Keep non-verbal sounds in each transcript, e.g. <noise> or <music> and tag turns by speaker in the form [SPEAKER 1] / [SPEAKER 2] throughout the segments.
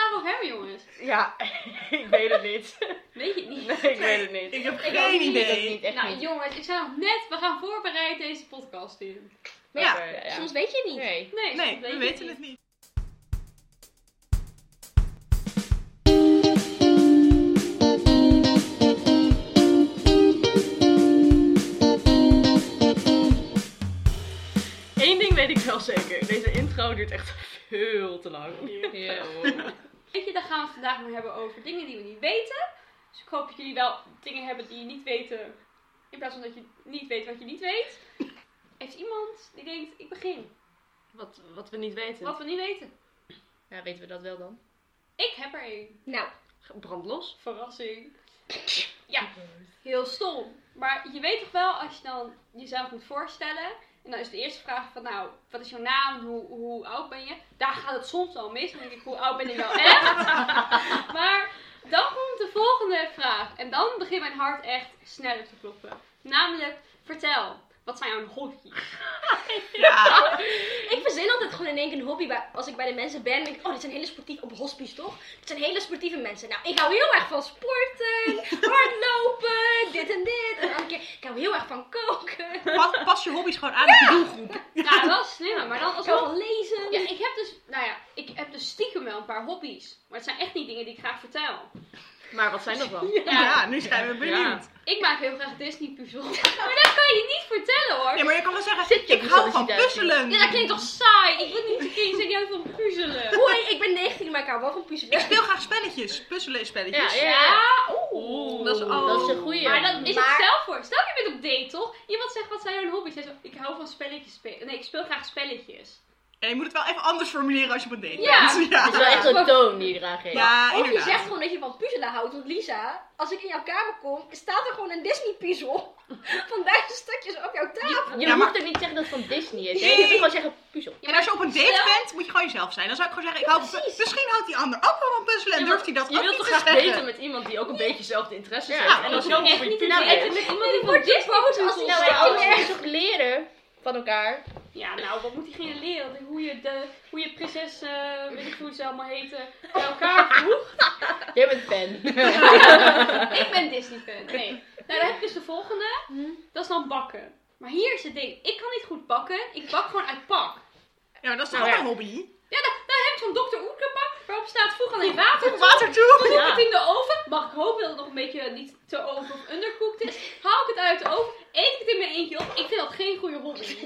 [SPEAKER 1] nou hem, jongens?
[SPEAKER 2] Ja, <laughs> ik weet het niet. <laughs>
[SPEAKER 1] Weet je het niet?
[SPEAKER 2] Nee, ik weet het niet.
[SPEAKER 3] Ik heb
[SPEAKER 2] Ik
[SPEAKER 3] geen
[SPEAKER 2] ook niet,
[SPEAKER 3] idee.
[SPEAKER 2] ook niet, echt
[SPEAKER 1] nou,
[SPEAKER 2] niet.
[SPEAKER 1] jongens, ik zei nog net, we gaan voorbereid deze podcast in.
[SPEAKER 3] Ja,
[SPEAKER 2] Oké, ja, ja.
[SPEAKER 4] Soms weet je het niet.
[SPEAKER 2] Nee.
[SPEAKER 1] Nee,
[SPEAKER 3] Nee,
[SPEAKER 1] soms weet
[SPEAKER 3] we
[SPEAKER 1] je
[SPEAKER 3] weten
[SPEAKER 1] niet.
[SPEAKER 3] het niet.
[SPEAKER 2] Eén ding weet ik wel zeker. Deze intro duurt echt veel te lang.
[SPEAKER 1] Ja. Weet je, daar gaan we het vandaag maar hebben over dingen die we niet weten. Dus ik hoop dat jullie wel dingen hebben die je niet weten. In plaats van dat je niet weet wat je niet weet. Heeft iemand die denkt, ik begin.
[SPEAKER 2] Wat, wat we niet weten.
[SPEAKER 1] Wat we niet weten.
[SPEAKER 2] Ja, weten we dat wel dan?
[SPEAKER 1] Ik heb er één.
[SPEAKER 4] Nou,
[SPEAKER 2] Brand los.
[SPEAKER 1] Verrassing. Ja, heel stom. Maar je weet toch wel, als je dan jezelf moet voorstellen. En dan is de eerste vraag van, nou, wat is jouw naam? Hoe, hoe oud ben je? Daar gaat het soms al mis. Dan denk ik, hoe oud ben ik nou echt? maar dan komt de volgende vraag. En dan begint mijn hart echt sneller te kloppen. Namelijk, vertel, wat zijn jouw hobby's?
[SPEAKER 3] Ja.
[SPEAKER 4] ik verzin altijd gewoon in één keer een hobby. Bij, als ik bij de mensen ben, denk ik, oh, dit zijn hele sportief op hospice, toch? Dit zijn hele sportieve mensen. Nou, ik hou heel erg van sporten, hardlopen, dit en dit. En dan een keer, ik hou heel erg van koken.
[SPEAKER 3] <laughs> Pas, pas je hobby's gewoon aan op je doelgroep.
[SPEAKER 1] Nou, wel slimmer. Maar dan
[SPEAKER 4] Ik hou
[SPEAKER 1] alsnog
[SPEAKER 4] van lezen.
[SPEAKER 1] Ja, ik heb dus, nou ja, ik heb dus stiekem wel een paar hobby's. Maar het zijn echt niet dingen die ik graag vertel.
[SPEAKER 2] Maar wat zijn dat dan?
[SPEAKER 3] Ja, nu zijn we benieuwd.
[SPEAKER 1] Ik maak heel graag Disney puzzels. <laughs> Maar dat kan je niet vertellen hoor.
[SPEAKER 3] Nee, maar je kan wel zeggen,
[SPEAKER 2] je
[SPEAKER 3] ik
[SPEAKER 2] op
[SPEAKER 3] hou van
[SPEAKER 2] sollicitatie?
[SPEAKER 3] puzzelen.
[SPEAKER 1] Ja, dat klinkt toch saai? Ik wil niet een kind zijn die houdt van puzzelen.
[SPEAKER 4] Hoi, ik ben 19, maar ik hou wel van
[SPEAKER 3] Ik
[SPEAKER 4] puzzelen.
[SPEAKER 3] speel graag spelletjes. Puzzelen is spelletjes.
[SPEAKER 2] Ja, ja.
[SPEAKER 1] oeh.
[SPEAKER 3] Dat is al...
[SPEAKER 2] Dat is een goeie.
[SPEAKER 1] Maar dan is
[SPEAKER 4] Maar-
[SPEAKER 1] het zelf voor. Stel je bent op date toch? Iemand zegt wat zijn jouw hobby's? Jij zegt, ik hou van spelletjes spelen. Nee, ik speel graag spelletjes.
[SPEAKER 3] En je moet het wel even anders formuleren als je op een date
[SPEAKER 1] Ja.
[SPEAKER 3] bent. <laughs>
[SPEAKER 2] Het is
[SPEAKER 3] Ja,
[SPEAKER 2] wel echt zo'n toon die je eraan geeft.
[SPEAKER 3] ja
[SPEAKER 4] Of je zegt
[SPEAKER 3] inderdaad.
[SPEAKER 4] gewoon dat je van puzzelen houdt. Want Lisa, als ik in jouw kamer kom, staat er gewoon een Disney-puzzel. <laughs> Van duizend stukjes op jouw tafel.
[SPEAKER 2] Je, je
[SPEAKER 3] Ja, maar-
[SPEAKER 2] moet er niet zeggen dat het van Disney is.
[SPEAKER 3] Nee.
[SPEAKER 2] Je moet gewoon zeggen puzzel.
[SPEAKER 1] Ja,
[SPEAKER 3] En als je op een date
[SPEAKER 1] stel-
[SPEAKER 3] bent, moet je gewoon jezelf zijn. Dan zou ik gewoon zeggen, ik hou van
[SPEAKER 4] Precies.
[SPEAKER 3] Misschien houdt die ander ook wel van puzzelen en durft hij dat
[SPEAKER 5] Je
[SPEAKER 3] ook
[SPEAKER 5] wilt
[SPEAKER 3] niet
[SPEAKER 5] toch
[SPEAKER 3] te
[SPEAKER 5] graag
[SPEAKER 3] zeggen.
[SPEAKER 5] weten met iemand die ook een beetje dezelfde interesses
[SPEAKER 2] Ja,
[SPEAKER 5] heeft.
[SPEAKER 3] ja,
[SPEAKER 5] En als je
[SPEAKER 1] Ik
[SPEAKER 5] ook
[SPEAKER 1] wil echt
[SPEAKER 5] voor je
[SPEAKER 1] niet
[SPEAKER 5] puzzel
[SPEAKER 1] weten
[SPEAKER 5] bent.
[SPEAKER 1] met iemand die van Disney puzzels
[SPEAKER 2] Nou,
[SPEAKER 4] Nou, wij
[SPEAKER 2] wij
[SPEAKER 1] houdt.
[SPEAKER 4] alles
[SPEAKER 2] alles moeten toch leren van elkaar.
[SPEAKER 1] Ja, nou, wat moet diegene leren? Hoe je, de, hoe je prinses, eh, weet ik hoe ze allemaal heten, bij elkaar voegt.
[SPEAKER 2] Jij bent fan.
[SPEAKER 1] Ik ben Disney-fan. Nee. Nou, dan heb ik dus de volgende. Dat is dan bakken. Maar hier is het ding. Ik kan niet goed bakken. Ik bak gewoon uit pak.
[SPEAKER 3] Ja, maar dat is toch
[SPEAKER 2] Nou,
[SPEAKER 3] ook
[SPEAKER 2] ja.
[SPEAKER 3] een hobby?
[SPEAKER 1] Ja, dan, dan heb ik zo'n Dr. Oetkerpak waarop staat vroeg alleen water. Dan
[SPEAKER 3] Water toe!
[SPEAKER 2] <laughs>
[SPEAKER 1] doe ik het in de oven. Mag ik hopen dat het nog een beetje niet te over of undercooked is. Haal ik het uit de oven. Eet ik het in mijn eentje op. Ik vind dat geen goede hobby.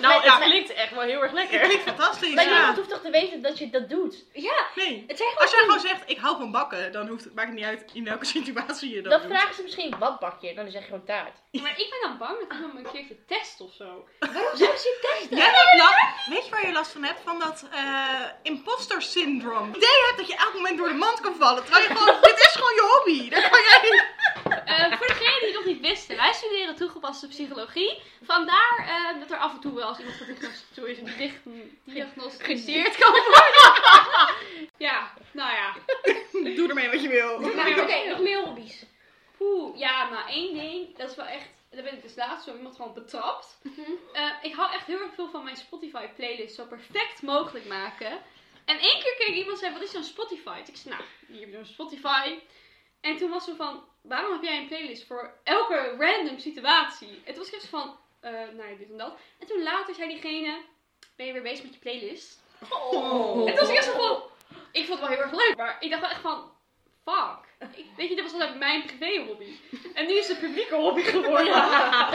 [SPEAKER 5] Nou, het klinkt echt wel heel erg lekker.
[SPEAKER 3] <laughs> Klinkt fantastisch,
[SPEAKER 2] Maar
[SPEAKER 3] ja.
[SPEAKER 2] niemand hoeft toch te weten dat je dat doet.
[SPEAKER 4] Ja,
[SPEAKER 3] Nee.
[SPEAKER 4] het zijn gewoon
[SPEAKER 3] Als jij gewoon zegt, ik hou van bakken, dan hoeft het, maakt het niet uit in welke <laughs> situatie je dat,
[SPEAKER 2] Dat
[SPEAKER 3] doet.
[SPEAKER 2] vragen ze misschien, wat bak je? Dan zeg je gewoon
[SPEAKER 5] <laughs>
[SPEAKER 2] taart.
[SPEAKER 1] Maar ik ben dan bang dat iemand me een keertje test of zo.
[SPEAKER 4] Waarom zouden ze je testen?
[SPEAKER 3] Jij hebt last, weet je waar je last van hebt? Van dat eh imposter syndroom. Het idee hebt dat je elk moment door de mand kan vallen. Terwijl je gewoon, dit is gewoon je hobby. Daar kan jij... <laughs>
[SPEAKER 1] Eh, voor degenen die het nog niet wisten, wij studeren toegepaste psychologie. Vandaar eh, dat er af en toe wel als iemand gediagnosticeerd kan worden. <laughs> ja, nou ja.
[SPEAKER 3] Doe ermee wat je wil.
[SPEAKER 4] Maar oké, nog meer hobby's.
[SPEAKER 1] Oeh, ja, maar één ding, dat is wel echt. Daar ben ik dus laatst zo iemand gewoon betrapt. Eh, ik hou echt heel erg veel van mijn Spotify playlist zo perfect mogelijk maken. En één keer keek iemand en zei: Wat is zo'n Spotify? Ik zei: Nou, hier heb je een Spotify. En toen was ze van: Waarom heb jij een playlist voor elke random situatie? En toen was ik echt zo van: eh, Nou ja, dit en dat. En toen later zei diegene: Ben je weer bezig met je playlist?
[SPEAKER 3] Oh.
[SPEAKER 1] En toen was ik echt zo van, ik vond het wel heel erg leuk, maar ik dacht wel echt van, fuck. Ik, weet je, dit was altijd mijn privé hobby. En nu is het publieke hobby
[SPEAKER 2] <laughs>
[SPEAKER 1] geworden. Maar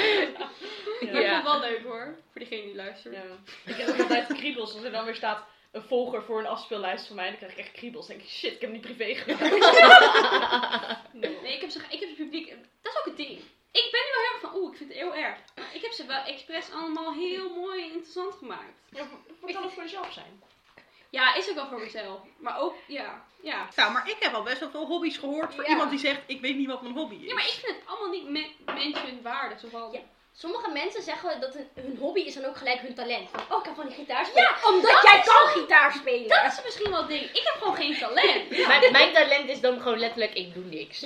[SPEAKER 1] ik vond het wel leuk hoor, voor degene die luistert.
[SPEAKER 5] Ja. Ik heb ook altijd kriebels. Als er dan weer staat een volger voor een afspeellijst van mij, dan krijg ik echt kriebels. Dan denk ik, shit, ik heb hem niet privé gemaakt.
[SPEAKER 1] Nee, ik heb, ze, ik heb het publiek, dat is ook het ding. Ik ben nu wel heel erg van, oeh, ik vind het heel erg. Maar ik heb ze wel expres allemaal heel mooi en interessant gemaakt.
[SPEAKER 5] Ja, wat kan het voor jezelf zijn?
[SPEAKER 1] Ja, is ook wel voor mezelf. Maar ook, ja, ja.
[SPEAKER 3] Nou, maar ik heb al best wel veel hobby's gehoord voor
[SPEAKER 4] Ja.
[SPEAKER 3] iemand die zegt, ik weet niet wat mijn hobby is.
[SPEAKER 1] Ja, maar ik vind het allemaal niet me mentionwaardig. Zo van,
[SPEAKER 4] Ja. Sommige mensen zeggen dat hun- hun hobby is dan ook gelijk hun talent. Van, oh, ik kan van die gitaar spelen. Ja, omdat jij kan gitaar spelen.
[SPEAKER 1] dat is misschien wel het ding. Ik heb gewoon geen talent.
[SPEAKER 2] Mijn, mijn talent is dan gewoon letterlijk, ik doe niks.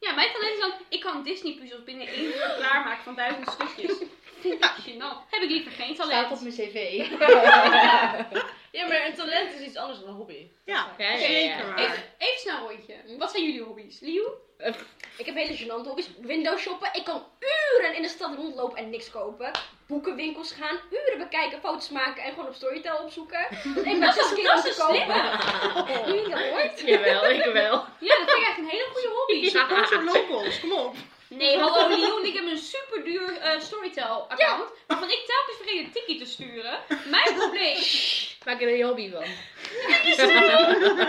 [SPEAKER 1] Ja, mijn talent is dan, ik kan Disney puzzels binnen één uur klaarmaken van duizend stukjes. vind ik gênant. Heb ik liever geen
[SPEAKER 6] Staat op
[SPEAKER 1] talent.
[SPEAKER 6] mijn cv.
[SPEAKER 5] Ja, maar een talent is iets anders dan een hobby.
[SPEAKER 3] Ja,
[SPEAKER 6] Ja, ja, ja.
[SPEAKER 3] zeker waar.
[SPEAKER 1] Even, even snel een rondje. Wat zijn jullie hobby's? Liu?
[SPEAKER 4] Ik heb hele gênante hobby's. Windows shoppen. Ik kan uren in de stad rondlopen en niks kopen. Boekenwinkels gaan. Uren bekijken, foto's maken en gewoon op Storytel <laughs> opzoeken. Ik ben zes keer om
[SPEAKER 1] dat
[SPEAKER 4] te
[SPEAKER 1] is een
[SPEAKER 4] <laughs> kopen.
[SPEAKER 1] slimme.
[SPEAKER 4] Doe je dat hoor?
[SPEAKER 6] Jawel, ik wel.
[SPEAKER 1] Ja, dat vind ik echt een hele goede hobby.
[SPEAKER 3] Sponsor locals, kom op.
[SPEAKER 1] Nee, hallo Liu en ik heb een super duur Storytel-account. Waarvan ik telkens vergeet een tikkie te sturen. Mijn probleem.
[SPEAKER 5] <laughs>
[SPEAKER 6] Maak er een hobby van.
[SPEAKER 4] Ehm,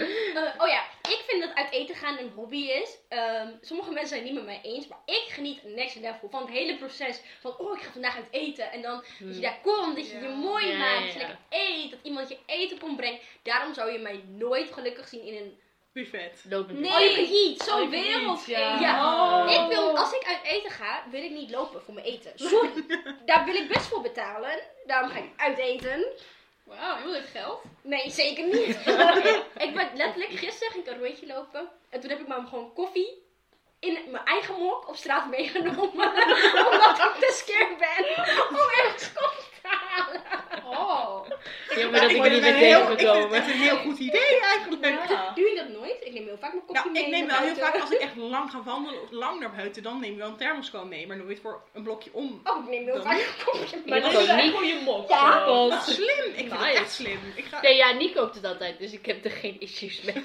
[SPEAKER 4] eh, oh ja, ik vind dat uit eten gaan een hobby is. Ehm, sommige mensen zijn het niet met mij eens, maar ik geniet next level van het hele proces. Van, oh, ik ga vandaag uit eten. En dan dat je daar komt, Dus dat je je
[SPEAKER 3] Ja.
[SPEAKER 4] mooi
[SPEAKER 6] Ja,
[SPEAKER 4] maakt,
[SPEAKER 6] ja,
[SPEAKER 4] dat je
[SPEAKER 6] ja.
[SPEAKER 4] lekker eet, dat iemand je eten komt brengen. Daarom zou je mij nooit gelukkig zien in een...
[SPEAKER 3] Buffet.
[SPEAKER 6] Loop met
[SPEAKER 1] Nee.
[SPEAKER 4] All you can eat,
[SPEAKER 5] All
[SPEAKER 4] zo'n
[SPEAKER 5] you can eat,
[SPEAKER 4] wereld.
[SPEAKER 5] ja.
[SPEAKER 4] Ja.
[SPEAKER 1] Oh.
[SPEAKER 4] Ik wil, als ik uit eten ga, wil ik niet lopen voor mijn eten. Sorry, daar wil ik best voor betalen. Daarom ga ik uit eten.
[SPEAKER 1] Wauw, iemand heeft
[SPEAKER 5] <laughs>
[SPEAKER 1] geld.
[SPEAKER 4] Nee, zeker niet. ik ben letterlijk, gisteren ging ik een rondje lopen. En toen heb ik maar gewoon koffie in mijn eigen mok op straat meegenomen. <laughs> omdat ik te scared ben om ergens koffie te halen.
[SPEAKER 1] Oh.
[SPEAKER 6] Jammer dat ik
[SPEAKER 3] vind
[SPEAKER 6] er niet
[SPEAKER 3] het
[SPEAKER 6] mee
[SPEAKER 3] een heel- Ik
[SPEAKER 6] tegen
[SPEAKER 3] vind
[SPEAKER 6] gekomen.
[SPEAKER 3] het een heel goed idee eigenlijk.
[SPEAKER 5] Ja.
[SPEAKER 4] Doen jullie dat nooit? Ik neem heel vaak mijn koffie
[SPEAKER 3] Nou,
[SPEAKER 4] mee.
[SPEAKER 3] ik neem wel
[SPEAKER 4] naar
[SPEAKER 3] heel vaak,
[SPEAKER 4] buiten.
[SPEAKER 3] als ik echt lang ga wandelen of lang naar buiten, dan neem ik wel een thermoscoon mee, maar nooit voor een blokje om.
[SPEAKER 4] Oh, ik neem heel vaak een kopje mee.
[SPEAKER 5] Maar
[SPEAKER 6] Ik
[SPEAKER 5] dan
[SPEAKER 6] kan
[SPEAKER 5] is het
[SPEAKER 6] niet-
[SPEAKER 5] eigenlijk gewoon je mok.
[SPEAKER 4] Ja.
[SPEAKER 5] gewoon.
[SPEAKER 6] Pot.
[SPEAKER 3] Slim, ik vind het
[SPEAKER 6] Nice.
[SPEAKER 3] echt slim. Ik ga...
[SPEAKER 6] Nee, ja, Nico koopt het altijd, dus ik heb er geen issues mee.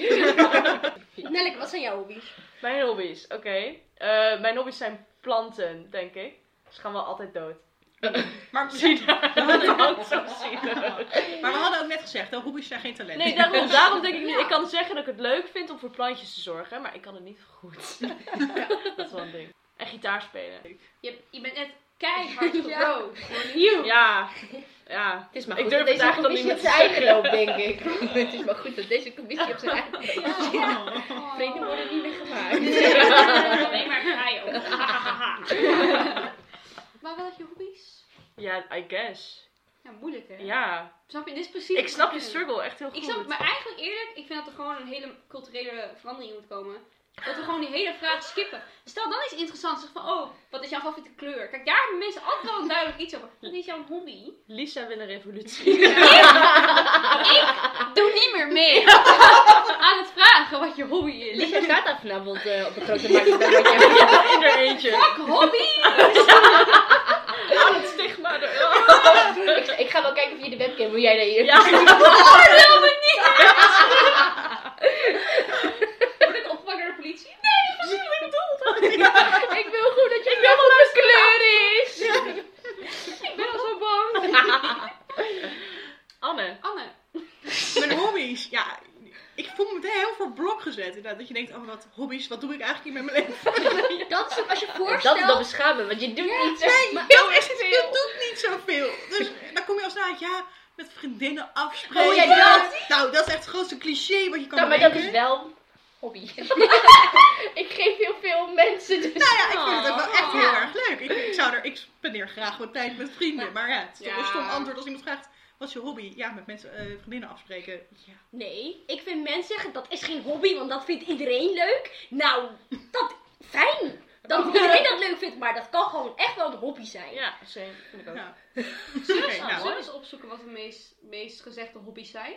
[SPEAKER 6] <laughs>
[SPEAKER 4] Nelleke, wat zijn jouw hobby's?
[SPEAKER 5] Mijn hobby's, oké. Eh, mijn hobby's zijn planten, denk ik. Ze gaan wel altijd dood.
[SPEAKER 3] Maar, maar we hadden ook net gezegd, hè, hobby's zijn geen talent.
[SPEAKER 5] Nee, daarom, daarom denk ik niet. Ik kan zeggen dat ik het leuk vind om voor plantjes te zorgen, maar ik kan het niet goed. dat is wel een ding. En gitaar spelen.
[SPEAKER 1] Je, hebt- je bent net
[SPEAKER 5] <laughs>
[SPEAKER 1] keihard
[SPEAKER 4] Ja.
[SPEAKER 1] gebroken. Liu.
[SPEAKER 5] Ja, ja.
[SPEAKER 6] Het is maar
[SPEAKER 5] Ik
[SPEAKER 6] goed
[SPEAKER 5] durf
[SPEAKER 6] dat
[SPEAKER 5] het
[SPEAKER 6] deze
[SPEAKER 5] eigenlijk
[SPEAKER 6] commissie op
[SPEAKER 5] nog
[SPEAKER 6] zijn eigen loopt, denk ik. <laughs> het is maar goed dat deze commissie op zijn eigen loopt.
[SPEAKER 1] Oh.
[SPEAKER 6] Vrienden worden niet meer gemaakt.
[SPEAKER 1] Alleen maar vrij ook. <laughs> maar wel je hobby's?
[SPEAKER 5] Ja, I guess.
[SPEAKER 1] Ja, moeilijk hè?
[SPEAKER 5] Ja.
[SPEAKER 1] Snap je? Dit is precies.
[SPEAKER 5] Ik snap je
[SPEAKER 1] wat ik
[SPEAKER 5] struggle echt heel
[SPEAKER 1] bedoel.
[SPEAKER 5] goed.
[SPEAKER 1] Ik snap, maar eigenlijk eerlijk, ik vind dat er gewoon een hele culturele verandering in moet komen. Dat we gewoon die hele vraag skippen. Stel dan iets interessants, zeg van, oh, wat is jouw favoriete kleur? Kijk, daar hebben mensen altijd wel een duidelijk iets over. Wat is jouw hobby?
[SPEAKER 5] Lisa wil een revolutie.
[SPEAKER 1] Doe niet meer mee aan het vragen wat je hobby is.
[SPEAKER 6] Lisa staat daar vanavond eh, op de <laughs> grote markt. Dan word jij-
[SPEAKER 5] In er eentje.
[SPEAKER 1] Hobby?
[SPEAKER 5] Aan het stigma er.
[SPEAKER 6] <laughs> ik, ik ga wel kijken of je de webcam, hoe jij daar hier...
[SPEAKER 1] Word ik opgevangen door de politie?
[SPEAKER 6] Ik wil gewoon dat je ik wil een kleur is.
[SPEAKER 1] Ik ben al zo bang.
[SPEAKER 5] Anne.
[SPEAKER 1] Anne,
[SPEAKER 3] Mijn hobby's, ja, ik voel me meteen heel voor blok gezet. Inderdaad, dat je denkt, oh wat hobby's, wat doe ik eigenlijk hier met mijn leven?
[SPEAKER 4] Dat is ook als je
[SPEAKER 6] Dat
[SPEAKER 4] voorstelt...
[SPEAKER 6] is dan beschamen, want je doet niet zo...
[SPEAKER 3] Nee, heel echt, je doet niet zoveel. Dus eh, dan kom je al snel uit, ja, met vriendinnen afspreken.
[SPEAKER 6] Oh ja, dat.
[SPEAKER 3] Nou, dat is echt het grootste cliché wat je kan
[SPEAKER 6] Nou, maar dat is
[SPEAKER 3] bedenken.
[SPEAKER 6] wel hobby. <laughs> ik geef heel veel mensen, dus...
[SPEAKER 3] Nou ja, ik vind het ook wel echt heel
[SPEAKER 1] Ja.
[SPEAKER 3] erg leuk. Ik, ik, zou er, ik spendeer graag wat tijd met vrienden. Maar ja, het is toch
[SPEAKER 1] Ja.
[SPEAKER 3] een stom antwoord als iemand vraagt... Wat is je hobby? Ja, met mensen, eh, vriendinnen afspreken. Ja.
[SPEAKER 4] Nee, ik vind mensen zeggen dat is geen hobby, want dat vindt iedereen leuk. Nou, dat fijn. Dat iedereen dat leuk vindt, maar dat kan gewoon echt wel een hobby zijn.
[SPEAKER 5] Ja, same. Vind ik ook.
[SPEAKER 3] Nou.
[SPEAKER 1] zullen
[SPEAKER 3] Oké,
[SPEAKER 1] we
[SPEAKER 3] nou.
[SPEAKER 1] zullen we eens opzoeken wat de meest, meest gezegde hobby's zijn?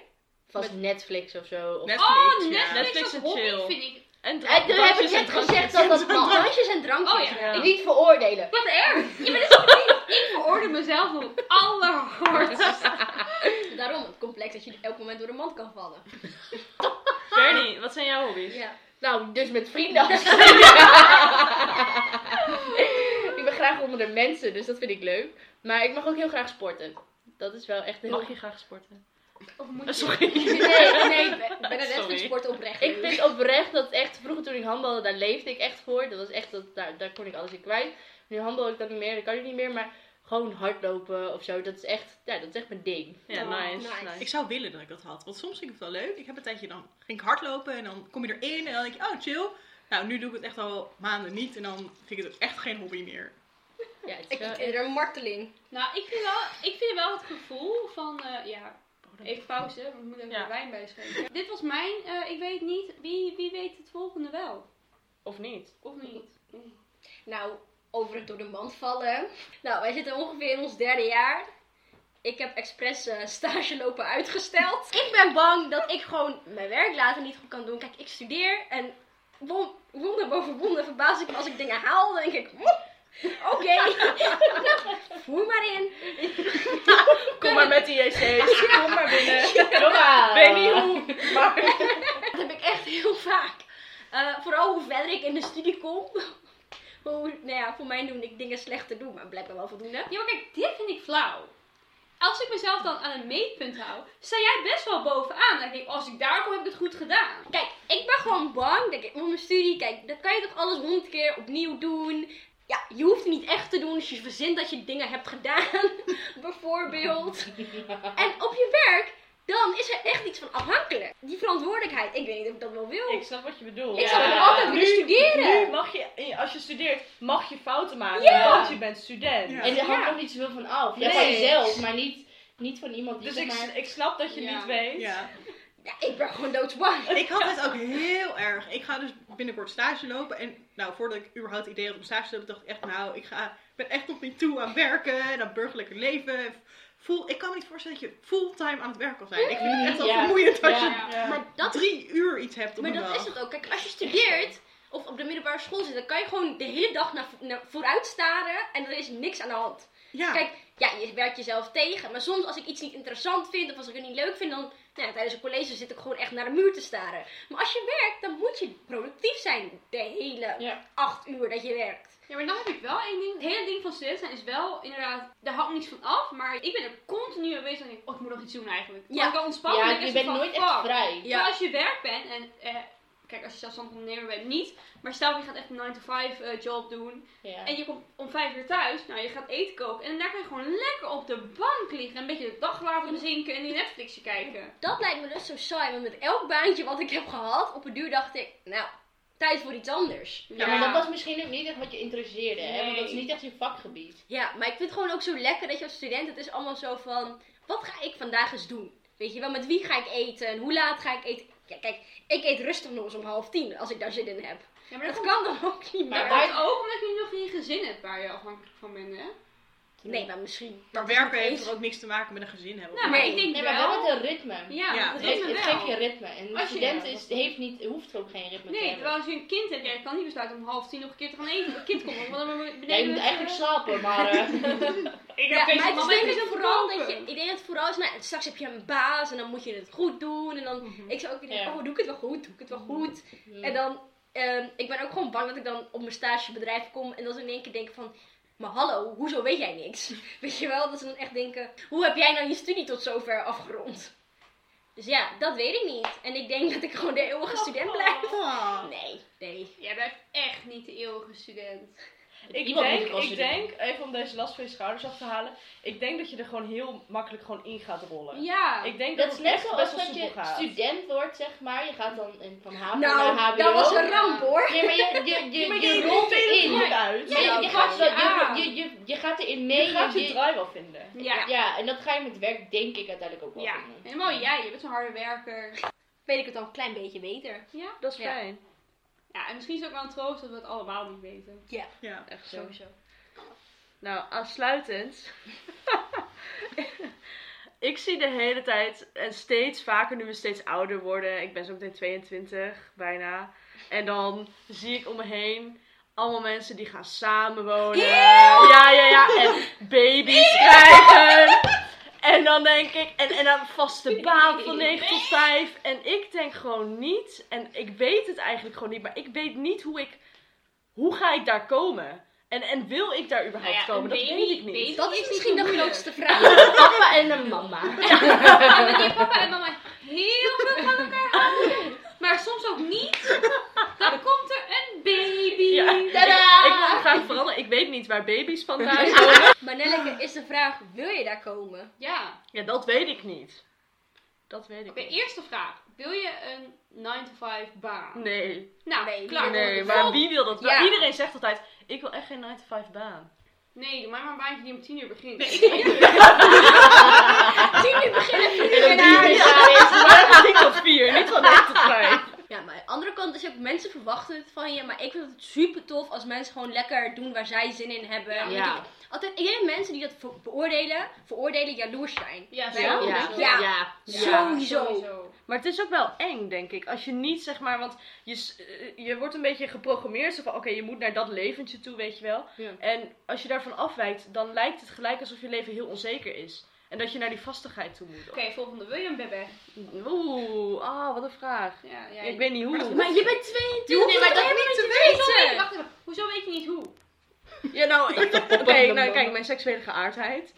[SPEAKER 6] Vast Netflix of zo. Of...
[SPEAKER 3] Netflix,
[SPEAKER 1] Oh,
[SPEAKER 3] ja.
[SPEAKER 1] Netflix,
[SPEAKER 5] Netflix
[SPEAKER 1] als
[SPEAKER 5] en
[SPEAKER 1] hobby
[SPEAKER 5] chill.
[SPEAKER 1] vind ik...
[SPEAKER 5] En
[SPEAKER 6] Eh, toen heb ik
[SPEAKER 5] drankjes en
[SPEAKER 6] net
[SPEAKER 5] drankjes.
[SPEAKER 6] gezegd dat dat mag.
[SPEAKER 4] Drankjes en drankjes.
[SPEAKER 1] Oh ja.
[SPEAKER 5] Ja.
[SPEAKER 6] Niet veroordelen.
[SPEAKER 1] Wat erg! Je bent dus niet- ik veroordeel mezelf op allerhardst.
[SPEAKER 4] Daarom het complex dat je elk moment door de mand kan vallen.
[SPEAKER 5] Bernie, wat zijn jouw hobby's?
[SPEAKER 4] Ja.
[SPEAKER 6] Nou, dus met <laughs> vrienden. ik ben graag onder de mensen, dus dat vind ik leuk. Maar ik mag ook heel graag sporten. Dat is wel echt heel...
[SPEAKER 5] Mag je graag sporten?
[SPEAKER 1] Of moet
[SPEAKER 5] Eh,
[SPEAKER 1] je...
[SPEAKER 5] Sorry.
[SPEAKER 4] Nee, nee, ik ben- ik ben een
[SPEAKER 5] Sorry.
[SPEAKER 4] Netflix sport oprecht.
[SPEAKER 6] Ik vind oprecht dat echt, vroeger toen ik handbalde, daar leefde ik echt voor. Dat was echt, dat, daar, daar kon ik alles in kwijt. Nu handbal ik dat niet meer, dat kan ik niet meer. Maar gewoon hardlopen of zo, dat is echt, ja, dat is echt mijn ding.
[SPEAKER 5] Ja,
[SPEAKER 4] Oh,
[SPEAKER 5] nice.
[SPEAKER 4] nice.
[SPEAKER 5] nice.
[SPEAKER 3] Ik zou willen dat ik dat had. Want soms vind ik het wel leuk. Ik heb een tijdje dan ging ik hardlopen en dan kom je erin en dan denk je, oh chill. Nou, nu doe ik het echt al maanden niet en dan vind ik het echt geen hobby meer.
[SPEAKER 6] Ja, het is
[SPEAKER 4] ik
[SPEAKER 6] wel
[SPEAKER 4] vind
[SPEAKER 6] echt-
[SPEAKER 4] het een marteling.
[SPEAKER 1] Nou, ik vind, wel, ik vind wel het gevoel van... eh, ja, even pauze, want we moeten even
[SPEAKER 5] Ja.
[SPEAKER 1] wijn bijschenken. Dit was mijn, eh, ik weet niet. Wie, wie weet het volgende wel?
[SPEAKER 5] Of niet?
[SPEAKER 1] Of niet?
[SPEAKER 4] Nou, overig door de mand vallen. Nou, wij zitten ongeveer in ons derde jaar. Ik heb expres eh, stage lopen uitgesteld. Ik ben bang dat ik gewoon mijn werk later niet goed kan doen. Kijk, ik studeer en won- wonder boven wonder verbaas ik me als ik dingen haal. Dan denk ik, "Moe, oké, <laughs> Nou, voer maar in.
[SPEAKER 5] <laughs> Kom maar met die JC's. Kom maar binnen.
[SPEAKER 6] Kom maar.
[SPEAKER 5] Weet niet hoe. Maar...
[SPEAKER 4] <laughs> Dat heb ik echt heel vaak. Eh, vooral hoe verder ik in de studie kom. <laughs> Hoe, nou ja, voor mij doen ik dingen slechter doen, maar blijkbaar wel voldoende.
[SPEAKER 1] Ja, maar kijk, dit vind ik flauw. Als ik mezelf dan aan een meetpunt hou, sta jij best wel bovenaan. Dan denk ik, als ik daar kom, heb ik het goed gedaan.
[SPEAKER 4] Kijk, ik ben gewoon bang dat ik om mijn studie, kijk, dat kan je toch alles honderd keer opnieuw doen. Ja, je hoeft het niet echt te doen, dus je verzint dat je dingen hebt gedaan, <laughs>
[SPEAKER 5] <laughs>
[SPEAKER 4] bijvoorbeeld. En op je werk, dan is er echt iets van afhankelijk. Die verantwoordelijkheid, ik weet niet of ik dat wel wil.
[SPEAKER 5] Ik snap wat je bedoelt.
[SPEAKER 4] Ik
[SPEAKER 5] zou
[SPEAKER 4] zou gewoon altijd willen studeren.
[SPEAKER 5] Nu mag je, als je studeert, mag je fouten maken. Want je bent student.
[SPEAKER 3] Ja.
[SPEAKER 6] En er hangt nog niet zoveel van af. Ja, van
[SPEAKER 5] Nee.
[SPEAKER 6] jezelf, maar niet, niet van iemand die
[SPEAKER 5] Dus
[SPEAKER 6] zeg
[SPEAKER 5] ik,
[SPEAKER 6] maar...
[SPEAKER 5] ik snap dat je
[SPEAKER 1] Ja.
[SPEAKER 5] niet weet.
[SPEAKER 3] Ja.
[SPEAKER 4] Ja, ik ben gewoon doodsbang.
[SPEAKER 3] Ik had het ook heel erg. Ik ga dus binnenkort stage lopen. En nou, voordat ik überhaupt het idee had om stage te lopen, dacht ik echt, nou, ik ga, ik ben echt nog niet toe aan werken en aan burgerlijke leven. Voel, ik kan me niet voorstellen dat je fulltime aan het werk kan zijn. Ik vind het echt wel
[SPEAKER 6] Ja.
[SPEAKER 3] vermoeiend als je
[SPEAKER 6] Ja.
[SPEAKER 3] maar
[SPEAKER 4] Dat is-
[SPEAKER 3] drie uur iets hebt op
[SPEAKER 4] Maar
[SPEAKER 3] een
[SPEAKER 4] dat
[SPEAKER 3] dag.
[SPEAKER 4] is het ook. Kijk, als je studeert of op de middelbare school zit, dan kan je gewoon de hele dag naar, naar vooruit staren en er is niks aan de hand.
[SPEAKER 3] ja.
[SPEAKER 4] Kijk, ja, je werkt jezelf tegen. Maar soms als ik iets niet interessant vind of als ik het niet leuk vind, dan nou ja, tijdens een college zit ik gewoon echt naar de muur te staren. Maar als je werkt, dan moet je productief zijn de hele
[SPEAKER 6] Ja.
[SPEAKER 4] acht uur dat je werkt.
[SPEAKER 1] Ja, maar dan heb ik wel één ding. Het hele ding van student zijn is wel inderdaad, daar hangt niets van af. Maar ik ben er continu aan bezig en denk, oh, ik moet nog iets doen eigenlijk.
[SPEAKER 4] Ja.
[SPEAKER 1] Ja. Ik kan ontspannen.
[SPEAKER 6] Ja,
[SPEAKER 1] en
[SPEAKER 6] je
[SPEAKER 1] is
[SPEAKER 6] bent
[SPEAKER 1] van,
[SPEAKER 6] nooit
[SPEAKER 1] fuck.
[SPEAKER 6] echt vrij.
[SPEAKER 1] Ja.
[SPEAKER 4] Nou,
[SPEAKER 1] als je werk bent en... eh, Kijk, als je zelfstandig ondernemer bent, niet. Maar stel je gaat echt een 9-to-5 eh, job doen.
[SPEAKER 6] Ja.
[SPEAKER 1] En je komt om 5 uur thuis. Nou, je gaat eten koken. En daar kan je gewoon lekker op de bank liggen. En een beetje de dag laten bezinken en die Netflixje kijken.
[SPEAKER 4] Dat lijkt me dus zo saai, want met elk baantje wat ik heb gehad, op een duur dacht ik, nou, tijd voor iets anders.
[SPEAKER 6] Ja, maar dat was misschien ook niet echt wat je interesseerde, hè? Want dat is
[SPEAKER 1] Nee.
[SPEAKER 6] niet echt je vakgebied.
[SPEAKER 4] Ja, maar ik vind het gewoon ook zo lekker dat je als student, het is allemaal zo van, wat ga ik vandaag eens doen? Weet je wel, met wie ga ik eten en hoe laat ga ik eten? Ja, kijk, ik eet rustig nog eens om half tien als ik daar zin in heb.
[SPEAKER 1] Ja, maar
[SPEAKER 4] Maar
[SPEAKER 1] dat
[SPEAKER 4] dat
[SPEAKER 1] komt
[SPEAKER 4] kan dan ook niet
[SPEAKER 6] Maar
[SPEAKER 4] meer.
[SPEAKER 1] Maar
[SPEAKER 6] waar-
[SPEAKER 1] dat komt ook omdat je nog geen gezin hebt waar je afhankelijk van bent, hè? Nou,
[SPEAKER 4] Nee, maar misschien.
[SPEAKER 3] maar
[SPEAKER 4] dat is
[SPEAKER 3] werken
[SPEAKER 4] nog
[SPEAKER 3] heeft
[SPEAKER 4] eens-
[SPEAKER 3] er ook niks te maken met een gezin hebben.
[SPEAKER 1] Nou, maar
[SPEAKER 4] Nee.
[SPEAKER 1] ik denk
[SPEAKER 6] Nee, maar
[SPEAKER 1] wel...
[SPEAKER 6] wel met een ritme.
[SPEAKER 1] Ja,
[SPEAKER 3] Ja,
[SPEAKER 1] dat
[SPEAKER 6] Het,
[SPEAKER 1] is
[SPEAKER 6] het
[SPEAKER 1] wel.
[SPEAKER 6] geeft je ritme. En de
[SPEAKER 1] Als je-
[SPEAKER 6] student
[SPEAKER 1] ja,
[SPEAKER 6] is, heeft niet, hoeft ook geen ritme te
[SPEAKER 1] Nee,
[SPEAKER 6] hebben.
[SPEAKER 1] terwijl als je een kind hebt, jij kan niet besluiten om half tien nog een keer te gaan eten. Het kind komt nog, want dan beneden...
[SPEAKER 6] Ja, je moet
[SPEAKER 1] met-
[SPEAKER 6] eigenlijk slapen, maar... eh,
[SPEAKER 5] Ik
[SPEAKER 4] Ja, maar het
[SPEAKER 1] man
[SPEAKER 4] is
[SPEAKER 1] met
[SPEAKER 4] denk ik
[SPEAKER 1] een
[SPEAKER 4] vooral dat je,
[SPEAKER 1] verkopen.
[SPEAKER 4] ik denk dat het vooral is, nou, straks heb je een baas en dan moet je het goed doen. En dan, ik zou ook weer denken,
[SPEAKER 6] Ja.
[SPEAKER 4] oh, doe ik het wel goed, doe ik het wel goed. En dan, ehm, ik ben ook gewoon bang dat ik dan op mijn stagebedrijf kom en dat ze in één keer denken van, maar hallo, hoezo weet jij niks? <laughs> Weet je wel, dat ze dan echt denken, hoe heb jij nou je studie tot zover afgerond? Dus ja, dat weet ik niet. En ik denk dat ik gewoon de eeuwige student blijf.
[SPEAKER 3] Ah.
[SPEAKER 4] Nee, nee.
[SPEAKER 1] Jij blijft Oh. echt niet de eeuwige student.
[SPEAKER 5] Ik
[SPEAKER 6] Iemand moet
[SPEAKER 5] denk,
[SPEAKER 6] het wel
[SPEAKER 5] ik
[SPEAKER 6] studeren.
[SPEAKER 5] denk, even om deze last van je schouders af te halen. Ik denk dat je er gewoon heel makkelijk gewoon in gaat rollen.
[SPEAKER 1] Ja.
[SPEAKER 5] Oh, Ik denk dat,
[SPEAKER 6] Dat is
[SPEAKER 5] het
[SPEAKER 6] net
[SPEAKER 5] echt best
[SPEAKER 6] zoals
[SPEAKER 5] wel
[SPEAKER 6] dat
[SPEAKER 5] soepel
[SPEAKER 6] je
[SPEAKER 5] gaat.
[SPEAKER 6] student wordt, zeg maar. Je gaat dan in- van HAVO
[SPEAKER 4] Nou,
[SPEAKER 6] naar HBO.
[SPEAKER 4] dat was een ramp hoor.
[SPEAKER 6] Nee, maar je, je, je,
[SPEAKER 5] Ja, maar
[SPEAKER 6] je,
[SPEAKER 5] je
[SPEAKER 6] rolt
[SPEAKER 5] rolt er
[SPEAKER 6] erin.
[SPEAKER 5] goed uit.
[SPEAKER 6] Ja, je, je
[SPEAKER 4] Ja,
[SPEAKER 6] gaat,
[SPEAKER 1] oké.
[SPEAKER 6] je, je, je, je gaat erin mee.
[SPEAKER 5] Je gaat je
[SPEAKER 6] je-
[SPEAKER 5] draai wel vinden.
[SPEAKER 1] Ja. ja.
[SPEAKER 6] ja, en dat ga je met werk denk ik uiteindelijk ook wel vinden.
[SPEAKER 1] Helemaal jij, je bent zo'n harde werker.
[SPEAKER 4] Weet ik het al een klein beetje beter.
[SPEAKER 1] Ja.
[SPEAKER 5] Dat is
[SPEAKER 4] Ja.
[SPEAKER 5] fijn.
[SPEAKER 1] Ja, en misschien is het ook wel een troost dat we het allemaal niet weten.
[SPEAKER 3] Ja.
[SPEAKER 5] Echt zo.
[SPEAKER 4] Sowieso.
[SPEAKER 5] Nou, aansluitend. <laughs> ik zie de hele tijd en steeds vaker, nu we steeds ouder worden. Ik ben zo meteen 22, bijna. En dan zie ik om me heen allemaal mensen die gaan samenwonen. Oh, Ja, ja, ja. En baby's krijgen. En dan denk ik, en, en een vaste baan van 9 tot 5. En ik denk gewoon niet, en ik weet het eigenlijk gewoon niet, maar ik weet niet hoe ik, hoe ga ik daar komen? En, en wil ik daar überhaupt
[SPEAKER 1] Nou ja,
[SPEAKER 5] komen? Dat
[SPEAKER 1] baby-
[SPEAKER 5] weet ik niet.
[SPEAKER 1] baby-
[SPEAKER 4] Dat is misschien de grootste vraag. <laughs>
[SPEAKER 6] Papa en een mama.
[SPEAKER 1] Ja, maar je papa en mama heel veel van elkaar houden. Maar soms ook niet. Dan komt er een baby.
[SPEAKER 5] Ja.
[SPEAKER 6] Tadaa!
[SPEAKER 5] Ik wil graag veranderen. Ik weet niet waar baby's vandaan komen.
[SPEAKER 4] Maar Nelleke, is de vraag, wil je daar
[SPEAKER 1] <laughs>
[SPEAKER 4] komen?
[SPEAKER 1] Ja.
[SPEAKER 5] Ja, dat weet ik niet. Dat weet ik
[SPEAKER 1] Oké,
[SPEAKER 5] niet.
[SPEAKER 1] eerste vraag. Wil je een 9-to-5 baan?
[SPEAKER 5] Nee,
[SPEAKER 1] Nou,
[SPEAKER 4] Nee.
[SPEAKER 1] klaar.
[SPEAKER 5] nee,
[SPEAKER 1] Dan-
[SPEAKER 5] maar wie wil dat? wel?
[SPEAKER 4] Ja.
[SPEAKER 5] Iedereen zegt altijd, ik wil echt geen 9 to 5 baan.
[SPEAKER 1] Nee, doe mij maar een baantje die om 10 uur begint.
[SPEAKER 4] Tien uur beginnen, vier uur
[SPEAKER 6] En
[SPEAKER 4] naar
[SPEAKER 6] dan
[SPEAKER 4] huis.
[SPEAKER 6] is
[SPEAKER 5] Maar ik tot 4, niet van 9 tot 5.
[SPEAKER 4] Ja, maar aan de andere kant is ook mensen verwachten het van je, maar ik vind het super tof als mensen gewoon lekker doen waar zij zin in hebben. En ik denk,
[SPEAKER 6] Ja.
[SPEAKER 4] altijd, ik denk dat mensen die dat ver- beoordelen, veroordelen jaloers zijn.
[SPEAKER 1] Ja, zo.
[SPEAKER 4] Ja.
[SPEAKER 6] Ja.
[SPEAKER 1] zo.
[SPEAKER 4] Ja. Sowieso.
[SPEAKER 5] Maar het is ook wel eng, denk ik. Als je niet, zeg maar, want je, s- eh, je wordt een beetje geprogrammeerd. Zo van, oké, je moet naar dat leventje toe, weet je wel.
[SPEAKER 6] Ja.
[SPEAKER 5] En als je daarvan afwijkt, dan lijkt het gelijk alsof je leven heel onzeker is. En dat je naar die vastigheid toe moet.
[SPEAKER 1] Oké, volgende. Wil je een bebé?
[SPEAKER 5] Oeh, ah, wat een vraag.
[SPEAKER 1] Ja, ja.
[SPEAKER 5] ik weet niet hoe.
[SPEAKER 4] Maar je bent 22,
[SPEAKER 1] Je hoeft
[SPEAKER 4] nee, maar
[SPEAKER 1] het
[SPEAKER 4] dat
[SPEAKER 1] helemaal
[SPEAKER 4] moet je
[SPEAKER 1] Hoezo weet je-
[SPEAKER 4] weten.
[SPEAKER 1] wacht even. Hoezo weet je niet hoe?
[SPEAKER 5] Ja, nou, ik- <laughs> oké, nou, kijk, mijn seksuele geaardheid.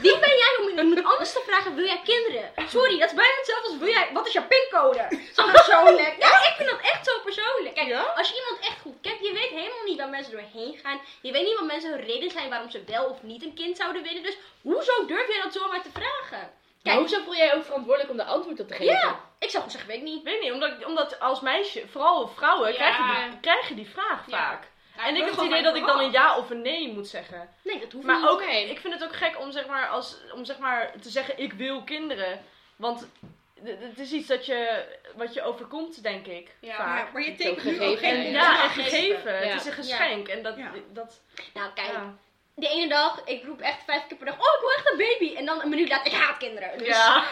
[SPEAKER 4] Wie ben jij om iemand anders te vragen, wil jij kinderen? Sorry, dat is bijna hetzelfde als, wil jij, wat is jouw pincode? Zo persoonlijk. Ja, ik vind dat echt zo persoonlijk. Kijk,
[SPEAKER 5] Ja?
[SPEAKER 4] als je iemand echt goed kent, je weet helemaal niet waar mensen doorheen gaan. Je weet niet wat mensen hun reden zijn waarom ze wel of niet een kind zouden willen. Dus hoezo durf jij dat zomaar te vragen?
[SPEAKER 6] Maar
[SPEAKER 4] Kijk,
[SPEAKER 6] hoezo voel jij je ook verantwoordelijk om de antwoord op te geven?
[SPEAKER 4] ja, ik zou gewoon zeggen, weet ik niet.
[SPEAKER 5] Ik weet niet, omdat, omdat als meisje, vooral vrouwen,
[SPEAKER 1] Ja.
[SPEAKER 5] krijgen, die, krijgen die vraag
[SPEAKER 1] Ja.
[SPEAKER 5] vaak.
[SPEAKER 1] Ja,
[SPEAKER 5] En ik
[SPEAKER 1] wil
[SPEAKER 5] heb het
[SPEAKER 1] gewoon
[SPEAKER 5] idee
[SPEAKER 1] mijn
[SPEAKER 5] dat ik
[SPEAKER 1] verhaal.
[SPEAKER 5] dan een ja of een nee moet zeggen.
[SPEAKER 4] Nee, dat hoeft niet.
[SPEAKER 5] Maar ook, ik vind het ook gek om zeg maar, als, om zeg maar te zeggen, ik wil kinderen. Want d- d- het is iets dat je, wat je overkomt, denk ik,
[SPEAKER 1] Ja.
[SPEAKER 5] vaak.
[SPEAKER 3] Ja, maar je
[SPEAKER 6] Het is ook
[SPEAKER 3] tekent nu ook
[SPEAKER 6] gegeven,
[SPEAKER 5] En,
[SPEAKER 3] geen...
[SPEAKER 6] hè?
[SPEAKER 5] ja, en
[SPEAKER 1] gegeven.
[SPEAKER 5] gegeven.
[SPEAKER 6] Ja.
[SPEAKER 5] Het is een geschenk. En dat,
[SPEAKER 3] Ja.
[SPEAKER 5] dat
[SPEAKER 4] Nou, kijk,
[SPEAKER 5] ja.
[SPEAKER 4] de ene dag, ik roep echt vijf keer per dag, oh, ik wil echt een baby. En dan een minuut later, ik haat kinderen. Dus, <laughs>
[SPEAKER 5] Ja.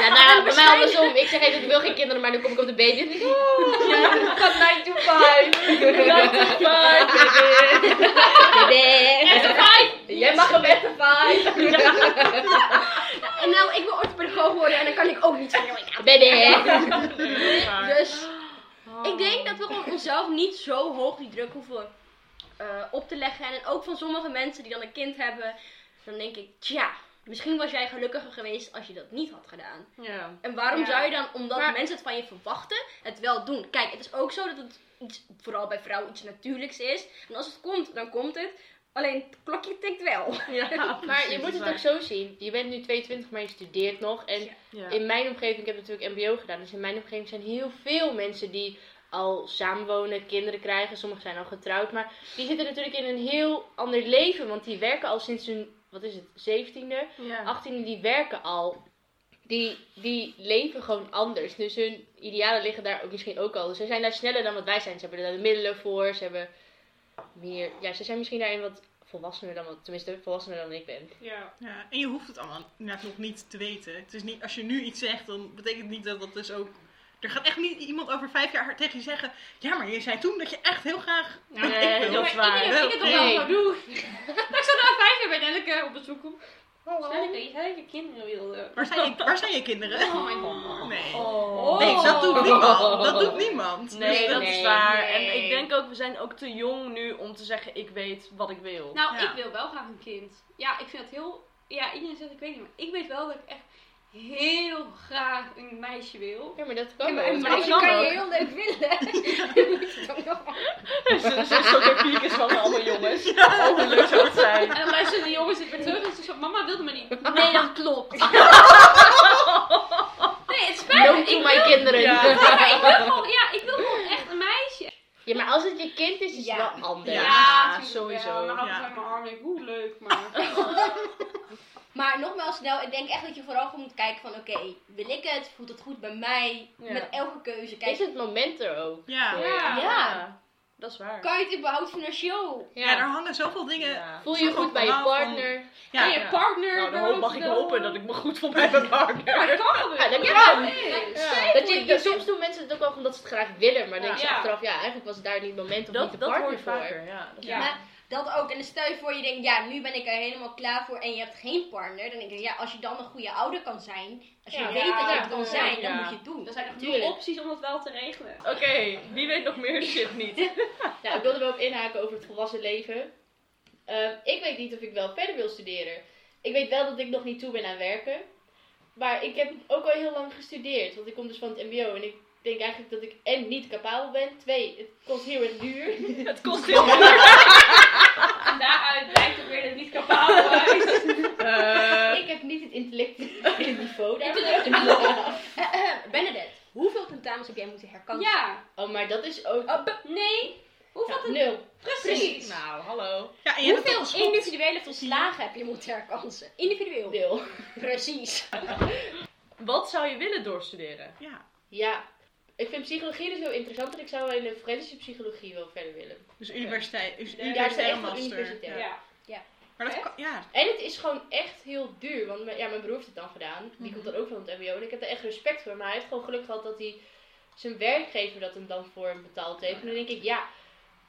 [SPEAKER 6] Ja, nou, bij mij andersom. Ik zeg even, ik wil geen kinderen, maar dan kom ik op de <laughs> baby. En ik denk, oh, ja, ik had 9 to 5.
[SPEAKER 1] Echt een vijf!
[SPEAKER 6] Jij mag hem echt een 5.
[SPEAKER 4] En nou, ik wil orthopedagoog worden en dan kan ik ook niet zeggen, ik haat
[SPEAKER 6] Baby.
[SPEAKER 4] Dus ik denk dat we gewoon onszelf niet zo hoog die druk hoeven eh, op te leggen. En ook van sommige mensen die dan een kind hebben, dan denk ik, tja, misschien was jij gelukkiger geweest als je dat niet had gedaan.
[SPEAKER 5] Ja.
[SPEAKER 4] En waarom
[SPEAKER 1] Ja.
[SPEAKER 4] zou je dan, omdat
[SPEAKER 1] Maar-
[SPEAKER 4] mensen het van je verwachten, het wel doen? Kijk, het is ook zo dat het iets, vooral bij vrouwen iets natuurlijks is. En als het komt, dan komt het. Alleen het klokje tikt wel.
[SPEAKER 5] Ja,
[SPEAKER 6] Maar je
[SPEAKER 5] precies,
[SPEAKER 6] moet het
[SPEAKER 5] waar.
[SPEAKER 6] ook zo zien. Je bent nu 22, maar je studeert nog. En
[SPEAKER 5] Ja.
[SPEAKER 6] in mijn omgeving, ik heb natuurlijk mbo gedaan. Dus in mijn omgeving zijn heel veel mensen die al samenwonen, kinderen krijgen. Sommigen zijn al getrouwd. Maar die zitten natuurlijk in een heel ander leven. Want die werken al sinds hun, wat is het, 17e?
[SPEAKER 5] Ja.
[SPEAKER 6] 18 die werken al. Die, die leven gewoon anders. Dus hun idealen liggen daar ook misschien ook al. Dus ze zijn daar sneller dan wat wij zijn. Ze hebben daar de middelen voor. Ze hebben meer. Ja, ze zijn misschien daarin wat volwassener dan wat. Tenminste, volwassener dan ik ben.
[SPEAKER 1] Ja.
[SPEAKER 3] Ja, en je hoeft het allemaal inderdaad nog niet te weten. Het is niet, als je nu iets zegt, dan betekent het niet dat dat dus ook... Er gaat echt niet iemand over vijf jaar tegen je zeggen... Ja, maar je zei toen dat je echt heel graag...
[SPEAKER 5] Nee, dat is
[SPEAKER 1] Ik
[SPEAKER 5] waar.
[SPEAKER 1] denk dat ik het toch wel
[SPEAKER 6] Nee.
[SPEAKER 1] zou doen. <laughs> ik zou na vijf jaar bij Nelleke op bezoek komen. Nelleke, je zei dat je kinderen wilde.
[SPEAKER 3] Waar zijn je, waar zijn je kinderen?
[SPEAKER 1] Oh mijn god.
[SPEAKER 3] <laughs> Nee.
[SPEAKER 5] Oh.
[SPEAKER 3] Nee, dat doet niemand. Dat doet niemand.
[SPEAKER 5] Nee, dat is
[SPEAKER 6] Nee,
[SPEAKER 5] waar.
[SPEAKER 6] nee.
[SPEAKER 5] En ik denk ook, we zijn ook te jong nu om te zeggen, ik weet wat ik wil.
[SPEAKER 1] Nou,
[SPEAKER 3] Ja.
[SPEAKER 1] ik wil wel graag een kind. Ja, ik vind het heel... Ja, iedereen zegt ik weet niet, maar ik weet wel dat ik echt heel graag een meisje wil.
[SPEAKER 6] Ja, maar dat kan
[SPEAKER 4] maar
[SPEAKER 6] wel.
[SPEAKER 4] een
[SPEAKER 5] dat
[SPEAKER 4] meisje
[SPEAKER 5] kan
[SPEAKER 4] kan je
[SPEAKER 5] ook.
[SPEAKER 4] heel leuk willen.
[SPEAKER 5] Ze is ook een piekjes van allemaal jongens. Oh, hoe leuk zou het zijn.
[SPEAKER 1] En dan luisteren de jongens het weer terug en ze zo, mama wilde me niet.
[SPEAKER 4] Nee, dat klopt. <laughs>
[SPEAKER 1] Nee, het spijt me.
[SPEAKER 6] Don't
[SPEAKER 1] Ik
[SPEAKER 6] kill my kinderen.
[SPEAKER 5] Ja.
[SPEAKER 6] Ja.
[SPEAKER 1] Ja, ik wil gewoon, ja, ik wil gewoon echt een meisje.
[SPEAKER 6] maar als het je kind is, is het
[SPEAKER 4] Ja.
[SPEAKER 6] wel anders.
[SPEAKER 3] Ja.
[SPEAKER 1] tuurlijk
[SPEAKER 5] sowieso.
[SPEAKER 1] wel. Dan hou ik
[SPEAKER 3] Ja.
[SPEAKER 1] het uit mijn armen. Ik, Hoe leuk, maar...
[SPEAKER 4] Maar nogmaals, snel, ik denk echt dat je vooral gewoon moet kijken van oké, wil ik het? Voelt het goed bij mij?
[SPEAKER 5] Ja.
[SPEAKER 4] Met elke keuze.
[SPEAKER 6] Is
[SPEAKER 4] Kijk,
[SPEAKER 6] het moment er ook?
[SPEAKER 3] Ja.
[SPEAKER 6] voor je?
[SPEAKER 1] Ja.
[SPEAKER 5] Ja, dat is waar.
[SPEAKER 4] kan je het überhaupt financieel?
[SPEAKER 3] Ja, daar hangen zoveel dingen... Ja.
[SPEAKER 5] Ja.
[SPEAKER 6] Voel je je goed bij je
[SPEAKER 3] Van-
[SPEAKER 6] partner?
[SPEAKER 1] Ja, en
[SPEAKER 3] Ja.
[SPEAKER 1] je partner...
[SPEAKER 5] Nou, dan
[SPEAKER 1] wil
[SPEAKER 5] mag
[SPEAKER 1] ook
[SPEAKER 5] ik
[SPEAKER 1] wel-
[SPEAKER 5] hopen dat ik me goed voel bij mijn partner.
[SPEAKER 1] Maar dat kan gebeuren.
[SPEAKER 6] Ja, dat
[SPEAKER 1] Ja,
[SPEAKER 6] kan.
[SPEAKER 1] nee.
[SPEAKER 6] Dat je, dat- soms doen mensen het ook wel omdat ze het graag willen, maar dan denk je
[SPEAKER 1] Ja.
[SPEAKER 6] achteraf, ja, eigenlijk was het daar niet het moment of niet
[SPEAKER 5] Dat,
[SPEAKER 6] de
[SPEAKER 5] dat hoor
[SPEAKER 6] partner
[SPEAKER 5] je
[SPEAKER 6] voor.
[SPEAKER 5] vaker, ja. Dat-
[SPEAKER 1] Ja.
[SPEAKER 4] Maar dat ook. En dan stel je voor, je denkt, ja, nu ben ik er helemaal klaar voor en je hebt geen partner. Dan denk ik, ja, als je dan een goede ouder kan zijn, als je
[SPEAKER 6] Ja.
[SPEAKER 4] weet dat je
[SPEAKER 1] Ja,
[SPEAKER 4] het kan
[SPEAKER 1] ja.
[SPEAKER 4] zijn, dan
[SPEAKER 5] Ja.
[SPEAKER 4] moet je het doen.
[SPEAKER 1] Er zijn echt
[SPEAKER 6] Tuurlijk.
[SPEAKER 1] genoeg opties om dat wel te regelen.
[SPEAKER 5] Oké, wie weet nog meer shit niet.
[SPEAKER 6] Nou, ik wilde wel op inhaken over het volwassen leven. Ehm, ik weet niet of ik wel verder wil studeren. Ik weet wel dat ik nog niet toe ben aan werken. Maar ik heb ook al heel lang gestudeerd, want ik kom dus van het mbo en ik denk eigenlijk dat ik en niet capabel ben. Twee, het kost heel erg duur.
[SPEAKER 5] Het kost heel veel.
[SPEAKER 1] En daaruit blijkt ook weer dat het niet capabel is. Eh.
[SPEAKER 6] Ik heb niet het
[SPEAKER 1] <laughs>
[SPEAKER 6] intellectuele niveau daar.
[SPEAKER 4] Eh, Benedette, hoeveel tentamens heb jij moeten herkansen?
[SPEAKER 1] Ja.
[SPEAKER 6] Oh, maar dat is ook
[SPEAKER 1] Oh, b- nee. Hoeveel
[SPEAKER 6] Ja, nul.
[SPEAKER 1] Precies.
[SPEAKER 5] Nou, hallo.
[SPEAKER 3] en je hebt het
[SPEAKER 4] Hoeveel individuele volslagen heb je moeten herkansen? Individueel.
[SPEAKER 6] Nul.
[SPEAKER 4] Precies.
[SPEAKER 5] Wat zou je willen doorstuderen?
[SPEAKER 3] Ja.
[SPEAKER 6] Ja, Ik vind psychologie dus heel interessant en ik zou wel in de forensische psychologie wel verder willen.
[SPEAKER 3] Dus universiteit. dus
[SPEAKER 1] Ja,
[SPEAKER 3] universitaire
[SPEAKER 6] echt wel
[SPEAKER 3] master.
[SPEAKER 6] universitair.
[SPEAKER 3] Ja.
[SPEAKER 1] Ja.
[SPEAKER 3] Maar dat
[SPEAKER 1] Echt?
[SPEAKER 3] kan, ja.
[SPEAKER 6] En het is gewoon echt heel duur, want mijn, ja, mijn broer heeft het dan gedaan. Die komt dan ook van het mbo en ik heb daar echt respect voor. Maar hij heeft gewoon geluk gehad dat hij zijn werkgever dat hem dan voor hem betaald heeft. En dan denk ik, ja,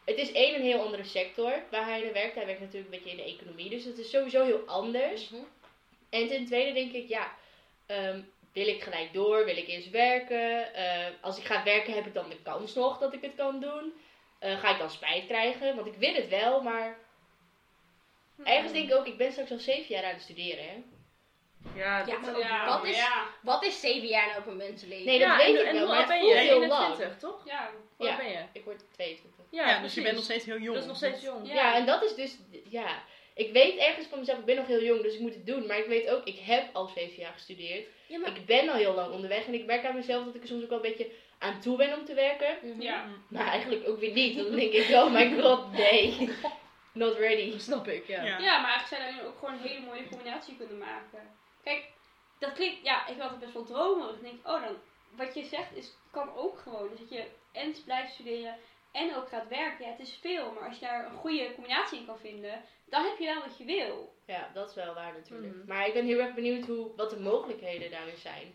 [SPEAKER 6] het is één een heel andere sector waar hij in werkt. Hij werkt natuurlijk een beetje in de economie, dus het is sowieso heel anders. En ten tweede denk ik, ja, ehm, wil ik gelijk door? Wil ik eerst werken? Eh, als ik ga werken, heb ik dan de kans nog dat ik het kan doen? Eh, ga ik dan spijt krijgen? Want ik wil het wel, maar ergens denk ik ook, ik ben straks al zeven jaar aan het studeren, hè?
[SPEAKER 5] Ja,
[SPEAKER 4] Ja,
[SPEAKER 5] dat-
[SPEAKER 4] maar ook, wat, is,
[SPEAKER 1] Ja.
[SPEAKER 4] wat is zeven jaar nou op een mensenleven?
[SPEAKER 6] Nee, dat
[SPEAKER 5] Ja,
[SPEAKER 6] weet
[SPEAKER 5] en-
[SPEAKER 6] ik
[SPEAKER 5] en
[SPEAKER 6] wel,
[SPEAKER 5] hoe
[SPEAKER 6] maar
[SPEAKER 5] oud
[SPEAKER 6] het
[SPEAKER 5] ben je?
[SPEAKER 6] voelt heel lang.
[SPEAKER 5] 21, toch?
[SPEAKER 1] Ja.
[SPEAKER 5] Hoe
[SPEAKER 6] Ja.
[SPEAKER 5] oud ben je?
[SPEAKER 6] Ik word 22.
[SPEAKER 5] Ja,
[SPEAKER 3] Ja, dus je
[SPEAKER 5] precies.
[SPEAKER 3] bent nog steeds heel jong.
[SPEAKER 5] Dat is nog steeds jong.
[SPEAKER 1] Ja.
[SPEAKER 6] Ja, en dat is dus, ja. Ik weet ergens van mezelf, ik ben nog heel jong, dus ik moet het doen. Maar ik weet ook, ik heb al zeven jaar gestudeerd.
[SPEAKER 4] Ja, maar...
[SPEAKER 6] Ik ben al heel lang onderweg en ik merk aan mezelf dat ik er soms ook wel een beetje aan toe ben om te werken.
[SPEAKER 4] Mhm.
[SPEAKER 1] Ja.
[SPEAKER 6] Maar eigenlijk ook weer niet. Dan denk ik, oh my god, nee. <laughs> Not ready.
[SPEAKER 5] Snap ik, ja.
[SPEAKER 3] Ja.
[SPEAKER 1] Ja, maar eigenlijk zou je daar ook gewoon een hele mooie combinatie kunnen maken. Kijk, dat klinkt, ja, ik had het best wel dromerig. Ik denk, oh dan, wat je zegt is, kan ook gewoon. Dus dat je en blijft studeren en ook gaat werken. Ja, het is veel, maar als je daar een goede combinatie in kan vinden, dan heb je wel wat je wil.
[SPEAKER 6] Ja, dat is wel waar natuurlijk.
[SPEAKER 5] Mhm.
[SPEAKER 6] Maar ik ben heel erg benieuwd hoe, wat de mogelijkheden daarin zijn.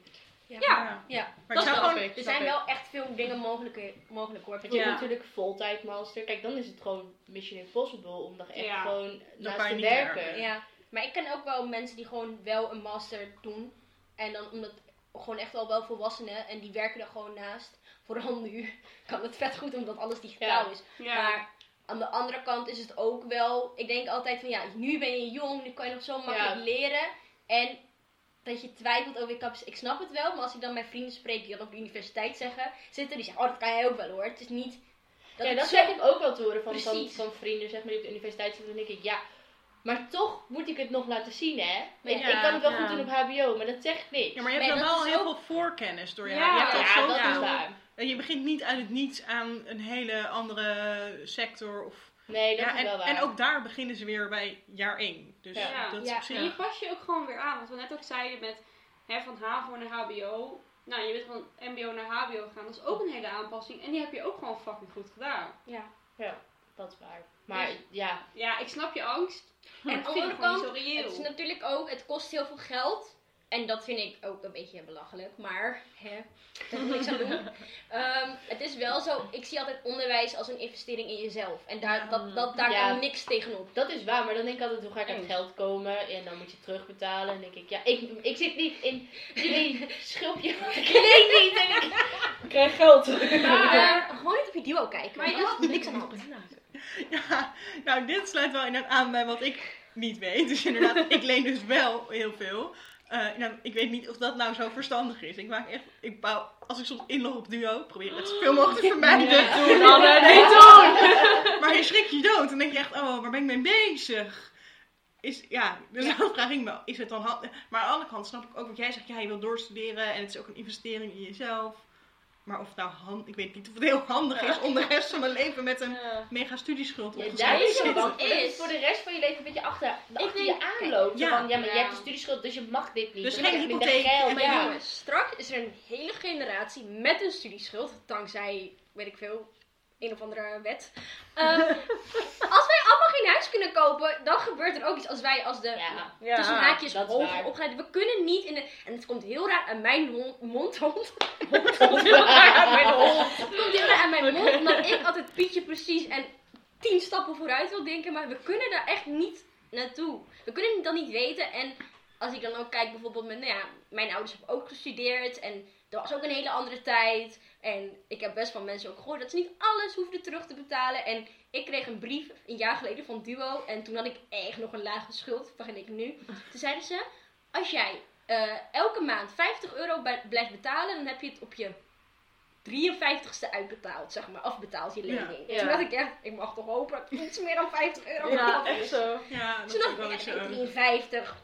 [SPEAKER 1] Ja.
[SPEAKER 4] Ja.
[SPEAKER 3] Maar ik
[SPEAKER 4] Dat
[SPEAKER 3] zou
[SPEAKER 4] wel.
[SPEAKER 3] gewoon...
[SPEAKER 4] Er zijn wel echt veel dingen mogelijk, mogelijk hoor.
[SPEAKER 6] Want je hebt
[SPEAKER 5] Ja.
[SPEAKER 6] natuurlijk fulltime master. Kijk, dan is het gewoon Mission Impossible om nog echt
[SPEAKER 1] Ja.
[SPEAKER 6] gewoon naast
[SPEAKER 3] kan je
[SPEAKER 6] te
[SPEAKER 3] niet
[SPEAKER 6] werken.
[SPEAKER 3] werken.
[SPEAKER 4] Ja, maar ik ken ook wel mensen die gewoon wel een master doen. En dan omdat gewoon echt al wel volwassenen en die werken er gewoon naast. Vooral nu <laughs> kan het vet goed omdat alles digitaal
[SPEAKER 6] Ja.
[SPEAKER 4] is. Maar aan de andere kant is het ook wel. Ik denk altijd van ja, nu ben je jong, nu kan je nog zo makkelijk
[SPEAKER 6] Ja.
[SPEAKER 4] leren. En dat je twijfelt over je capaciteit. Ik snap het wel, maar als ik dan mijn vrienden spreek die dan op de universiteit zeggen, zitten die zeggen, oh dat kan jij ook wel hoor. Het is niet.
[SPEAKER 6] ja,
[SPEAKER 4] ik
[SPEAKER 6] dat
[SPEAKER 4] zo-
[SPEAKER 6] krijg ik ook wel te horen van, van,
[SPEAKER 4] Precies.
[SPEAKER 6] van vrienden zeg maar, die op de universiteit zitten. Dan denk ik, ja, maar toch moet ik het nog laten zien, hè? Ik-
[SPEAKER 4] Ja,
[SPEAKER 6] ik kan het wel
[SPEAKER 5] ja.
[SPEAKER 6] goed doen op HBO, maar dat zegt niks.
[SPEAKER 3] Ja, maar je hebt
[SPEAKER 4] Nee,
[SPEAKER 3] dan
[SPEAKER 4] dat
[SPEAKER 3] wel
[SPEAKER 4] is
[SPEAKER 3] heel
[SPEAKER 4] ook-
[SPEAKER 3] veel voorkennis door je.
[SPEAKER 1] Ja.
[SPEAKER 3] je hebt
[SPEAKER 6] ja,
[SPEAKER 3] al
[SPEAKER 1] dat
[SPEAKER 6] dat,
[SPEAKER 3] zoveel-
[SPEAKER 6] is waar.
[SPEAKER 3] En Je begint niet uit het niets aan een hele andere sector. Of...
[SPEAKER 6] Nee, dat
[SPEAKER 3] Ja,
[SPEAKER 6] is wel
[SPEAKER 3] en,
[SPEAKER 6] waar.
[SPEAKER 3] en ook daar beginnen ze weer bij jaar 1. Dus
[SPEAKER 1] Ja.
[SPEAKER 3] dat is
[SPEAKER 4] Ja.
[SPEAKER 3] op zich...
[SPEAKER 1] En je pas je ook gewoon weer aan. Wat we net ook zeiden met hè, van HAVO naar HBO. Nou, je bent van MBO naar HBO gegaan. Dat is ook een hele aanpassing. En die heb je ook gewoon fucking goed gedaan.
[SPEAKER 4] Ja.
[SPEAKER 6] Dat is waar. Maar ja,
[SPEAKER 1] Ja, ik snap je angst. En
[SPEAKER 4] aan
[SPEAKER 1] ik
[SPEAKER 4] de
[SPEAKER 1] vind
[SPEAKER 4] andere
[SPEAKER 1] het gewoon niet
[SPEAKER 4] kant,
[SPEAKER 1] zo reëel.
[SPEAKER 4] Het is natuurlijk ook, het kost heel veel geld. En dat vind ik ook een beetje belachelijk, maar hè, dat wil ik zo doen.
[SPEAKER 6] <laughs>
[SPEAKER 4] Ehm, het is wel zo, ik zie altijd onderwijs als een investering in jezelf. En daar, dat, dat, daar
[SPEAKER 6] Ja.
[SPEAKER 4] kan niks tegenop.
[SPEAKER 6] dat is waar. Maar dan denk ik altijd, hoe ga ik aan het
[SPEAKER 5] Eens.
[SPEAKER 6] geld komen? En dan moet je terugbetalen. En dan denk ik, ja, ik, ik zit niet in jullie schulpje. Ik weet niet, denk ik. Ik krijg geld.
[SPEAKER 4] <laughs> Maar eh, gewoon niet op je duo kijken,
[SPEAKER 1] Maar
[SPEAKER 4] maar
[SPEAKER 1] ja.
[SPEAKER 4] er is niks aan de hand.
[SPEAKER 3] <laughs> Ja, nou, dit sluit wel inderdaad aan bij wat ik niet weet. Dus
[SPEAKER 6] <laughs>
[SPEAKER 3] inderdaad, ik leen dus wel heel veel. Eh, nou, ik weet niet of dat nou zo verstandig is. Ik maak echt, ik bouw, als ik soms inlog op duo, probeer het zoveel mogelijk
[SPEAKER 6] <laughs>
[SPEAKER 3] te vermijden.
[SPEAKER 5] Doe dan een nee,
[SPEAKER 3] Maar je schrik je dood. Dan denk je echt, oh, waar ben ik mee bezig? Is, ja, dus dan vraag ik me, is het dan hand- Maar aan de andere kant snap ik ook wat jij zegt. Ja, je wil doorstuderen en het is ook een investering in jezelf. Maar of het nou hand, ik weet niet of het heel handig is om de rest van mijn leven met een mega studieschuld op
[SPEAKER 6] Ja,
[SPEAKER 3] te
[SPEAKER 6] daar is
[SPEAKER 4] het
[SPEAKER 6] je
[SPEAKER 4] zitten.
[SPEAKER 6] bang voor. Dat
[SPEAKER 4] Is.
[SPEAKER 6] is voor de rest van je leven een beetje achter, achter
[SPEAKER 4] denk-
[SPEAKER 6] je aanloopt. Ja,
[SPEAKER 3] Ja.
[SPEAKER 6] van, ja maar
[SPEAKER 1] Ja.
[SPEAKER 6] je hebt een studieschuld, dus je mag dit niet.
[SPEAKER 3] Dus
[SPEAKER 6] Je
[SPEAKER 3] geen
[SPEAKER 6] mag minder
[SPEAKER 3] hypotheek.
[SPEAKER 6] geld.
[SPEAKER 4] Maar
[SPEAKER 6] Ja.
[SPEAKER 4] jongens, straks is er een hele generatie met een studieschuld, dankzij, weet ik veel, een of andere wet. <laughs> Ehm, als wij allemaal geen huis kunnen kopen, dan gebeurt er ook iets als wij als de
[SPEAKER 6] Ja.
[SPEAKER 4] tussen
[SPEAKER 5] <laughs> Ja,
[SPEAKER 4] haakjes
[SPEAKER 6] dat is
[SPEAKER 4] hoger
[SPEAKER 6] waar.
[SPEAKER 4] opgeleid. We kunnen niet in de... En het komt heel raar aan mijn mond, mond rond.
[SPEAKER 5] mijn hond.
[SPEAKER 4] Het komt heel raar aan mijn mond, omdat ik altijd Pietje precies en tien stappen vooruit wil denken. Maar we kunnen daar echt niet naartoe. We kunnen dat niet weten. En als ik dan ook kijk bijvoorbeeld met... Nou ja, mijn ouders hebben ook gestudeerd. En dat was ook een hele andere tijd. En ik heb best van mensen ook gehoord dat ze niet alles hoefden terug te betalen. En ik kreeg een brief een jaar geleden van Duo. En toen had ik echt nog een lage schuld. Begin ik nu. Toen zeiden ze, als jij eh, elke maand 50 euro bij- blijft betalen, dan heb je het op je 53ste uitbetaald, zeg maar, afbetaald je lening.
[SPEAKER 5] Ja.
[SPEAKER 4] Toen
[SPEAKER 5] Ja.
[SPEAKER 4] dacht <laughs> ik echt, ik mag toch hopen dat iets meer dan 50 euro
[SPEAKER 5] Ja,
[SPEAKER 4] betaald
[SPEAKER 5] echt
[SPEAKER 4] is.
[SPEAKER 5] zo.
[SPEAKER 3] Ja, dat
[SPEAKER 4] Toen
[SPEAKER 3] is
[SPEAKER 4] dacht
[SPEAKER 3] ook wel
[SPEAKER 4] ik
[SPEAKER 3] eens
[SPEAKER 4] echt,
[SPEAKER 3] zo.
[SPEAKER 4] ik heb 53.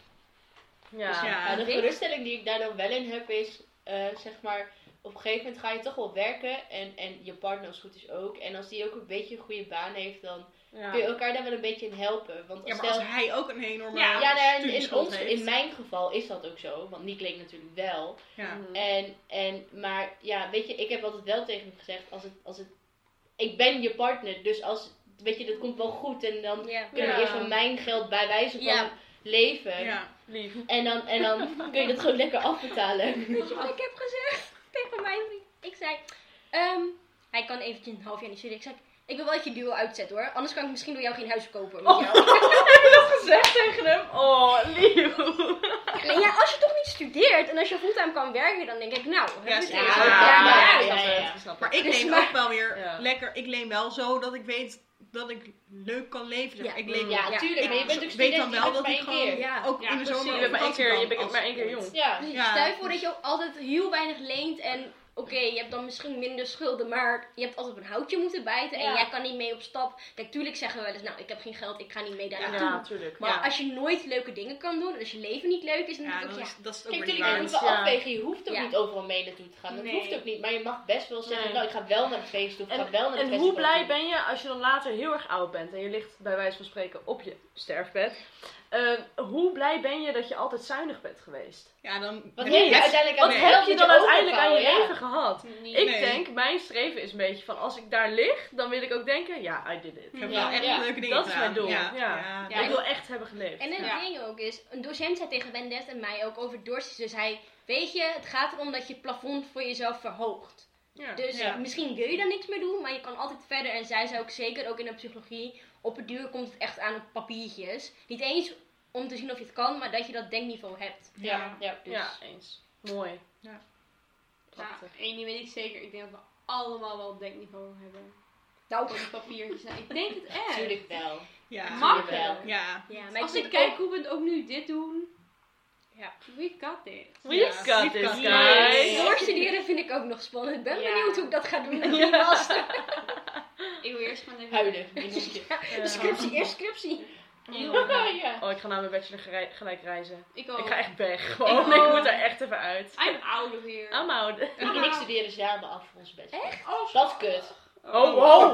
[SPEAKER 5] Ja.
[SPEAKER 3] Dus ja,
[SPEAKER 6] Nou, de
[SPEAKER 4] weet-
[SPEAKER 6] geruststelling die ik daar dan wel in heb is, eh, zeg maar, op een gegeven moment ga je toch wel werken en, en je partner als het goed is ook. En als die ook een beetje een goede baan heeft, dan
[SPEAKER 5] Ja.
[SPEAKER 6] kun je elkaar daar wel een beetje in helpen. Want
[SPEAKER 3] Ja, maar
[SPEAKER 6] stel-
[SPEAKER 3] als hij ook een enorme
[SPEAKER 1] Ja,
[SPEAKER 6] ja, nou, in, in,
[SPEAKER 3] studieschuld
[SPEAKER 6] ons,
[SPEAKER 3] heeft.
[SPEAKER 6] in mijn geval is dat ook zo, want Nick leek natuurlijk wel.
[SPEAKER 3] Ja.
[SPEAKER 5] Mhm.
[SPEAKER 6] En, en, maar ja, weet je, ik heb altijd wel tegen hem gezegd, als het, als het, ik ben je partner, dus als, weet je, dat komt wel goed. En dan
[SPEAKER 4] Ja.
[SPEAKER 6] kunnen we
[SPEAKER 5] Ja.
[SPEAKER 6] eerst van mijn geld bij wijze van
[SPEAKER 1] Ja.
[SPEAKER 6] leven.
[SPEAKER 3] Ja.
[SPEAKER 5] Lief.
[SPEAKER 6] En, dan, en dan kun je dat gewoon lekker afbetalen.
[SPEAKER 4] Weet je wat ik heb gezegd <laughs> tegen mijn vriend? Ik zei, ehm, hij kan eventjes een half jaar niet studeren. Ik zei, ik wil wel dat je duo uitzet hoor. Anders kan ik misschien door jou geen huis kopen. Met jou.
[SPEAKER 5] <laughs> Gezegd tegen hem. Oh, lief.
[SPEAKER 4] <laughs> En ja, als je toch niet studeert en als je fulltime kan werken, dan denk ik, nou,
[SPEAKER 3] Ja,
[SPEAKER 4] heb je
[SPEAKER 3] ja,
[SPEAKER 4] het.
[SPEAKER 3] ja,
[SPEAKER 6] ja,
[SPEAKER 5] ik snap
[SPEAKER 6] ja,
[SPEAKER 5] het,
[SPEAKER 6] ja.
[SPEAKER 5] ik snap
[SPEAKER 3] Maar
[SPEAKER 5] het.
[SPEAKER 3] ik
[SPEAKER 4] Dus
[SPEAKER 3] leen
[SPEAKER 4] maar-
[SPEAKER 3] ook wel weer
[SPEAKER 5] Ja.
[SPEAKER 3] lekker. Ik leen wel zo dat ik weet dat ik leuk kan leven. zeg.
[SPEAKER 4] Ja.
[SPEAKER 3] Ik leen
[SPEAKER 6] Ja,
[SPEAKER 4] Ja.
[SPEAKER 6] tuurlijk, maar je bent ook
[SPEAKER 3] Ik weet
[SPEAKER 6] student,
[SPEAKER 3] dan wel
[SPEAKER 6] je bent
[SPEAKER 3] dat
[SPEAKER 6] maar
[SPEAKER 3] ik
[SPEAKER 6] één
[SPEAKER 3] gewoon
[SPEAKER 6] keer.
[SPEAKER 4] Ja.
[SPEAKER 3] ook
[SPEAKER 2] Ja,
[SPEAKER 3] in de zomer
[SPEAKER 5] Precies, je
[SPEAKER 3] op
[SPEAKER 5] bent maar één
[SPEAKER 3] vakantie
[SPEAKER 5] keer, je
[SPEAKER 3] kan
[SPEAKER 5] bent
[SPEAKER 3] als-
[SPEAKER 5] maar één keer jong.
[SPEAKER 6] Ja,
[SPEAKER 3] Ja.
[SPEAKER 4] Dus Stel je voor dat je ook altijd heel weinig leent en oké, je hebt dan misschien minder schulden, maar je hebt altijd op een houtje moeten bijten en
[SPEAKER 6] Ja.
[SPEAKER 4] jij kan niet mee op stap. Kijk, tuurlijk zeggen we wel eens, nou, ik heb geen geld, ik ga niet mee daar
[SPEAKER 3] Ja.
[SPEAKER 4] naartoe.
[SPEAKER 5] Ja, natuurlijk.
[SPEAKER 4] Maar
[SPEAKER 3] Ja.
[SPEAKER 4] als je nooit leuke dingen kan doen, en als je leven niet leuk is, dan
[SPEAKER 3] Ja,
[SPEAKER 4] denk ik
[SPEAKER 3] dat
[SPEAKER 4] ook, ja,
[SPEAKER 3] is, dat is ook
[SPEAKER 6] Kijk,
[SPEAKER 3] weer niet
[SPEAKER 6] natuurlijk,
[SPEAKER 3] waar.
[SPEAKER 6] je moet
[SPEAKER 5] waard.
[SPEAKER 6] wel
[SPEAKER 5] Ja.
[SPEAKER 6] afwegen. Je hoeft ook
[SPEAKER 4] Ja.
[SPEAKER 6] niet overal mee naartoe te gaan. Dat
[SPEAKER 2] Nee.
[SPEAKER 6] hoeft ook niet. Maar je mag best wel zeggen,
[SPEAKER 5] Nee.
[SPEAKER 6] nou, ik ga wel naar het feest of ik ga wel naar het
[SPEAKER 5] En
[SPEAKER 6] festival.
[SPEAKER 5] hoe blij ben je als je dan later heel erg oud bent en je ligt bij wijze van spreken op je sterfbed? Eh, hoe blij ben je dat je altijd zuinig bent geweest?
[SPEAKER 3] Ja, dan
[SPEAKER 6] Wat
[SPEAKER 3] heb
[SPEAKER 6] heb
[SPEAKER 3] je
[SPEAKER 6] je
[SPEAKER 3] echt-
[SPEAKER 6] uiteindelijk aan
[SPEAKER 5] Wat
[SPEAKER 6] de
[SPEAKER 3] nee.
[SPEAKER 5] heb
[SPEAKER 6] helft
[SPEAKER 5] je
[SPEAKER 6] moet
[SPEAKER 5] dan uiteindelijk aan je
[SPEAKER 6] overhouden, ja.
[SPEAKER 5] leven gehad?
[SPEAKER 1] Niet.
[SPEAKER 5] Ik
[SPEAKER 3] Nee.
[SPEAKER 5] denk, mijn streven is een beetje van als ik daar lig, dan wil ik ook denken, ja, I did it.
[SPEAKER 3] Ik heb
[SPEAKER 6] Ja,
[SPEAKER 3] wel echt
[SPEAKER 6] ja.
[SPEAKER 3] leuke dingen
[SPEAKER 5] Dat is mijn
[SPEAKER 3] gedaan.
[SPEAKER 5] doel,
[SPEAKER 3] Ja.
[SPEAKER 5] ja.
[SPEAKER 3] Ja.
[SPEAKER 1] Ja.
[SPEAKER 5] ik wil echt hebben geleefd.
[SPEAKER 4] En het
[SPEAKER 1] Ja.
[SPEAKER 4] ding ook is, een docent zei tegen Wendet en mij ook over dorstjes. Dus hij, weet je, het gaat erom dat je het plafond voor jezelf verhoogt.
[SPEAKER 5] Ja.
[SPEAKER 4] Dus
[SPEAKER 3] Ja.
[SPEAKER 4] misschien wil je daar niks mee doen, maar je kan altijd verder. En zij zei ook zeker, ook in de psychologie, op het duur komt het echt aan op papiertjes. Niet eens om te zien of je het kan, maar dat je dat denkniveau hebt.
[SPEAKER 6] Ja, ja.
[SPEAKER 4] Dus.
[SPEAKER 5] Ja, eens. Mooi.
[SPEAKER 3] Ja.
[SPEAKER 1] Ja,
[SPEAKER 5] Prachtig.
[SPEAKER 1] één ding weet ik zeker. Ik denk dat we allemaal wel een denkniveau hebben.
[SPEAKER 4] Nou,
[SPEAKER 1] Op die papiertjes. Nou, ik denk het echt.
[SPEAKER 6] Natuurlijk wel.
[SPEAKER 3] Ja.
[SPEAKER 6] Maar-
[SPEAKER 1] Mag wel.
[SPEAKER 3] Ja.
[SPEAKER 4] ja, maar
[SPEAKER 1] Als
[SPEAKER 4] vind
[SPEAKER 1] ik
[SPEAKER 4] het ook-
[SPEAKER 1] kijk hoe we het ook nu dit doen.
[SPEAKER 4] Ja.
[SPEAKER 1] We got this.
[SPEAKER 5] We
[SPEAKER 3] Ja.
[SPEAKER 5] got this,
[SPEAKER 3] Ja.
[SPEAKER 5] guys.
[SPEAKER 1] Ja.
[SPEAKER 4] Doorstuderen vind ik ook nog spannend. Ik ben
[SPEAKER 1] Ja.
[SPEAKER 4] benieuwd hoe ik dat ga doen met die master.
[SPEAKER 1] Ik wil eerst gewoon even...
[SPEAKER 6] Huilen. in een hoekje.
[SPEAKER 5] Ja.
[SPEAKER 4] Scriptie, eerst scriptie.
[SPEAKER 1] Heel.
[SPEAKER 6] <laughs> ja.
[SPEAKER 5] Oh, ik ga naar mijn bachelor gerei- gelijk reizen.
[SPEAKER 1] Ik ook.
[SPEAKER 5] Ik ga echt weg. Gewoon.
[SPEAKER 1] Ik
[SPEAKER 5] Oh. Ik,
[SPEAKER 1] ook.
[SPEAKER 5] moet daar echt even uit.
[SPEAKER 1] I'm out of here.
[SPEAKER 5] I'm out.
[SPEAKER 6] Nick en ik studeren samen af ons best.
[SPEAKER 1] Oh,
[SPEAKER 6] Dat is kut.
[SPEAKER 5] Oh, wow.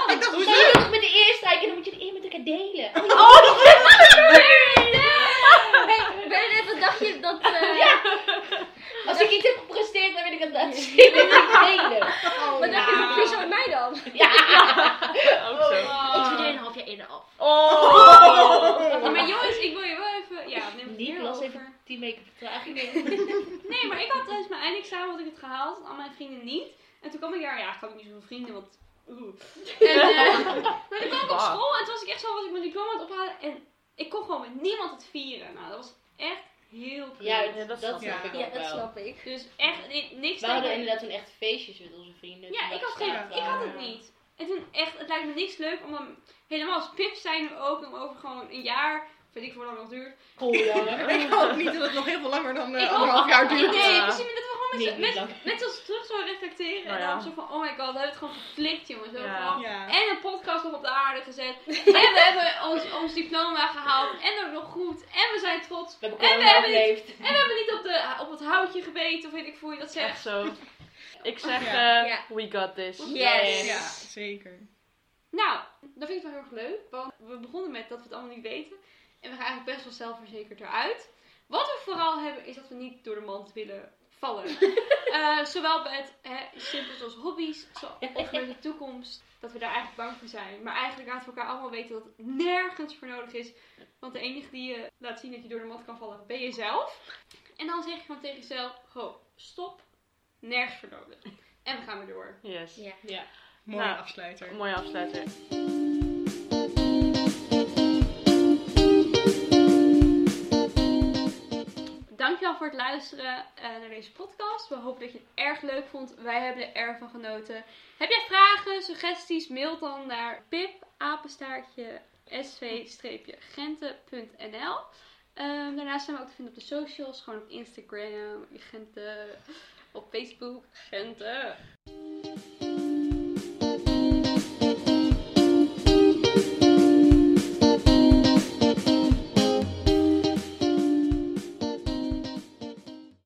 [SPEAKER 5] <laughs>
[SPEAKER 3] Ik dacht,
[SPEAKER 6] Maar je moet met de eerste en dan moet je het eerst met elkaar delen.
[SPEAKER 5] Oh,
[SPEAKER 4] Hey, Bernadette, wat dacht je dat... eh,
[SPEAKER 6] Als ik iets heb gepresteerd, dan wil ik het laten zien <laughs> en niet delen.
[SPEAKER 4] Wat dacht je van Friso en mij dan?
[SPEAKER 5] Ook zo.
[SPEAKER 4] Ik studeer een half jaar eerder af.
[SPEAKER 5] Oh.
[SPEAKER 1] Ja, Ah. maar jongens, ik wil je wel even... Ja, neem het
[SPEAKER 6] Nick
[SPEAKER 1] hier
[SPEAKER 6] las
[SPEAKER 1] over.
[SPEAKER 6] even 10 weken <laughs> vertraging.
[SPEAKER 1] Nee, maar ik had tijdens mijn eindexamen had ik het gehaald. en Al mijn vrienden niet. En toen kwam ik daar... Ja, ik had ook niet zoveel vrienden, want... Oeh. En
[SPEAKER 6] <laughs>
[SPEAKER 1] eh, maar toen kwam ik op
[SPEAKER 5] Bah.
[SPEAKER 1] school. En toen was ik echt zo... Was ik mijn diploma aan het ophalen. En ik kon gewoon met niemand het vieren. Nou, dat was echt heel cool.
[SPEAKER 6] Ja,
[SPEAKER 5] Ja, dat
[SPEAKER 6] dat snap
[SPEAKER 3] snap
[SPEAKER 6] ik
[SPEAKER 4] Ja,
[SPEAKER 6] ook
[SPEAKER 4] dat
[SPEAKER 6] wel.
[SPEAKER 4] snap ik.
[SPEAKER 1] Dus echt ni- niks
[SPEAKER 6] We hadden
[SPEAKER 1] tegen-
[SPEAKER 6] inderdaad toen echt feestjes met onze vrienden.
[SPEAKER 1] Ja, ik had, geen,
[SPEAKER 6] het
[SPEAKER 1] ik had het niet. En toen echt, het lijkt me niks leuk om hem, helemaal als pip zijn we ook, om over gewoon een jaar, weet ik voor lang nog duurt.
[SPEAKER 6] <laughs>
[SPEAKER 3] Ik hoop niet dat het nog heel veel langer dan eh,
[SPEAKER 1] Ik hoop-
[SPEAKER 3] anderhalf jaar
[SPEAKER 1] Nee,
[SPEAKER 3] duurt.
[SPEAKER 5] Ja.
[SPEAKER 1] misschien dat we gewoon met,
[SPEAKER 6] Nee, niet
[SPEAKER 1] z'n-
[SPEAKER 6] lang.
[SPEAKER 1] met, met z'n allen terug zo reflecteren
[SPEAKER 5] Nou
[SPEAKER 1] en
[SPEAKER 5] ja.
[SPEAKER 1] dan zo van, oh my god, we hebben het gewoon geflikt jongens. We hebben
[SPEAKER 5] Ja.
[SPEAKER 1] gewoon-
[SPEAKER 3] Ja.
[SPEAKER 1] En een podcast nog op de aarde
[SPEAKER 5] <laughs>
[SPEAKER 1] gezet. en we hebben ons, ons diploma gehaald en ook nog goed. En we zijn trots.
[SPEAKER 6] We hebben
[SPEAKER 1] En we
[SPEAKER 6] corona
[SPEAKER 1] hebben niet-
[SPEAKER 6] overleefd.
[SPEAKER 1] En we hebben niet op, de, op het houtje gebeten, of weet ik hoe je dat zegt.
[SPEAKER 5] Echt zo. Ik zeg,
[SPEAKER 3] Ja.
[SPEAKER 5] eh,
[SPEAKER 4] Ja.
[SPEAKER 5] we got this.
[SPEAKER 4] Yes.
[SPEAKER 3] Ja, zeker.
[SPEAKER 1] Nou, dat vind ik wel heel erg leuk. Want we begonnen met dat we het allemaal niet weten. En we gaan eigenlijk best wel zelfverzekerd eruit. Wat we vooral hebben is dat we niet door de mand willen vallen. Eh, zowel bij het hè, simpels als hobby's, zo- of met de toekomst. Dat we daar eigenlijk bang voor zijn. Maar eigenlijk laten we elkaar allemaal weten dat het nergens voor nodig is. Want de enige die je laat zien dat je door de mand kan vallen, ben jezelf. En dan zeg je gewoon tegen jezelf, ho, stop, nergens voor nodig. En we gaan weer door.
[SPEAKER 5] Yes.
[SPEAKER 4] Ja.
[SPEAKER 3] Mooie
[SPEAKER 5] Nou.
[SPEAKER 3] afsluiter.
[SPEAKER 5] Mooi afsluiter.
[SPEAKER 1] Dankjewel voor het luisteren eh, naar deze podcast. We hopen dat je het erg leuk vond. Wij hebben er erg van genoten. Heb jij vragen, suggesties? Mail dan naar pipapenstaartje-sv-genten.nl Ehm, Daarnaast zijn we ook te vinden op de socials. Gewoon op Instagram, Genten, op Facebook, Genten.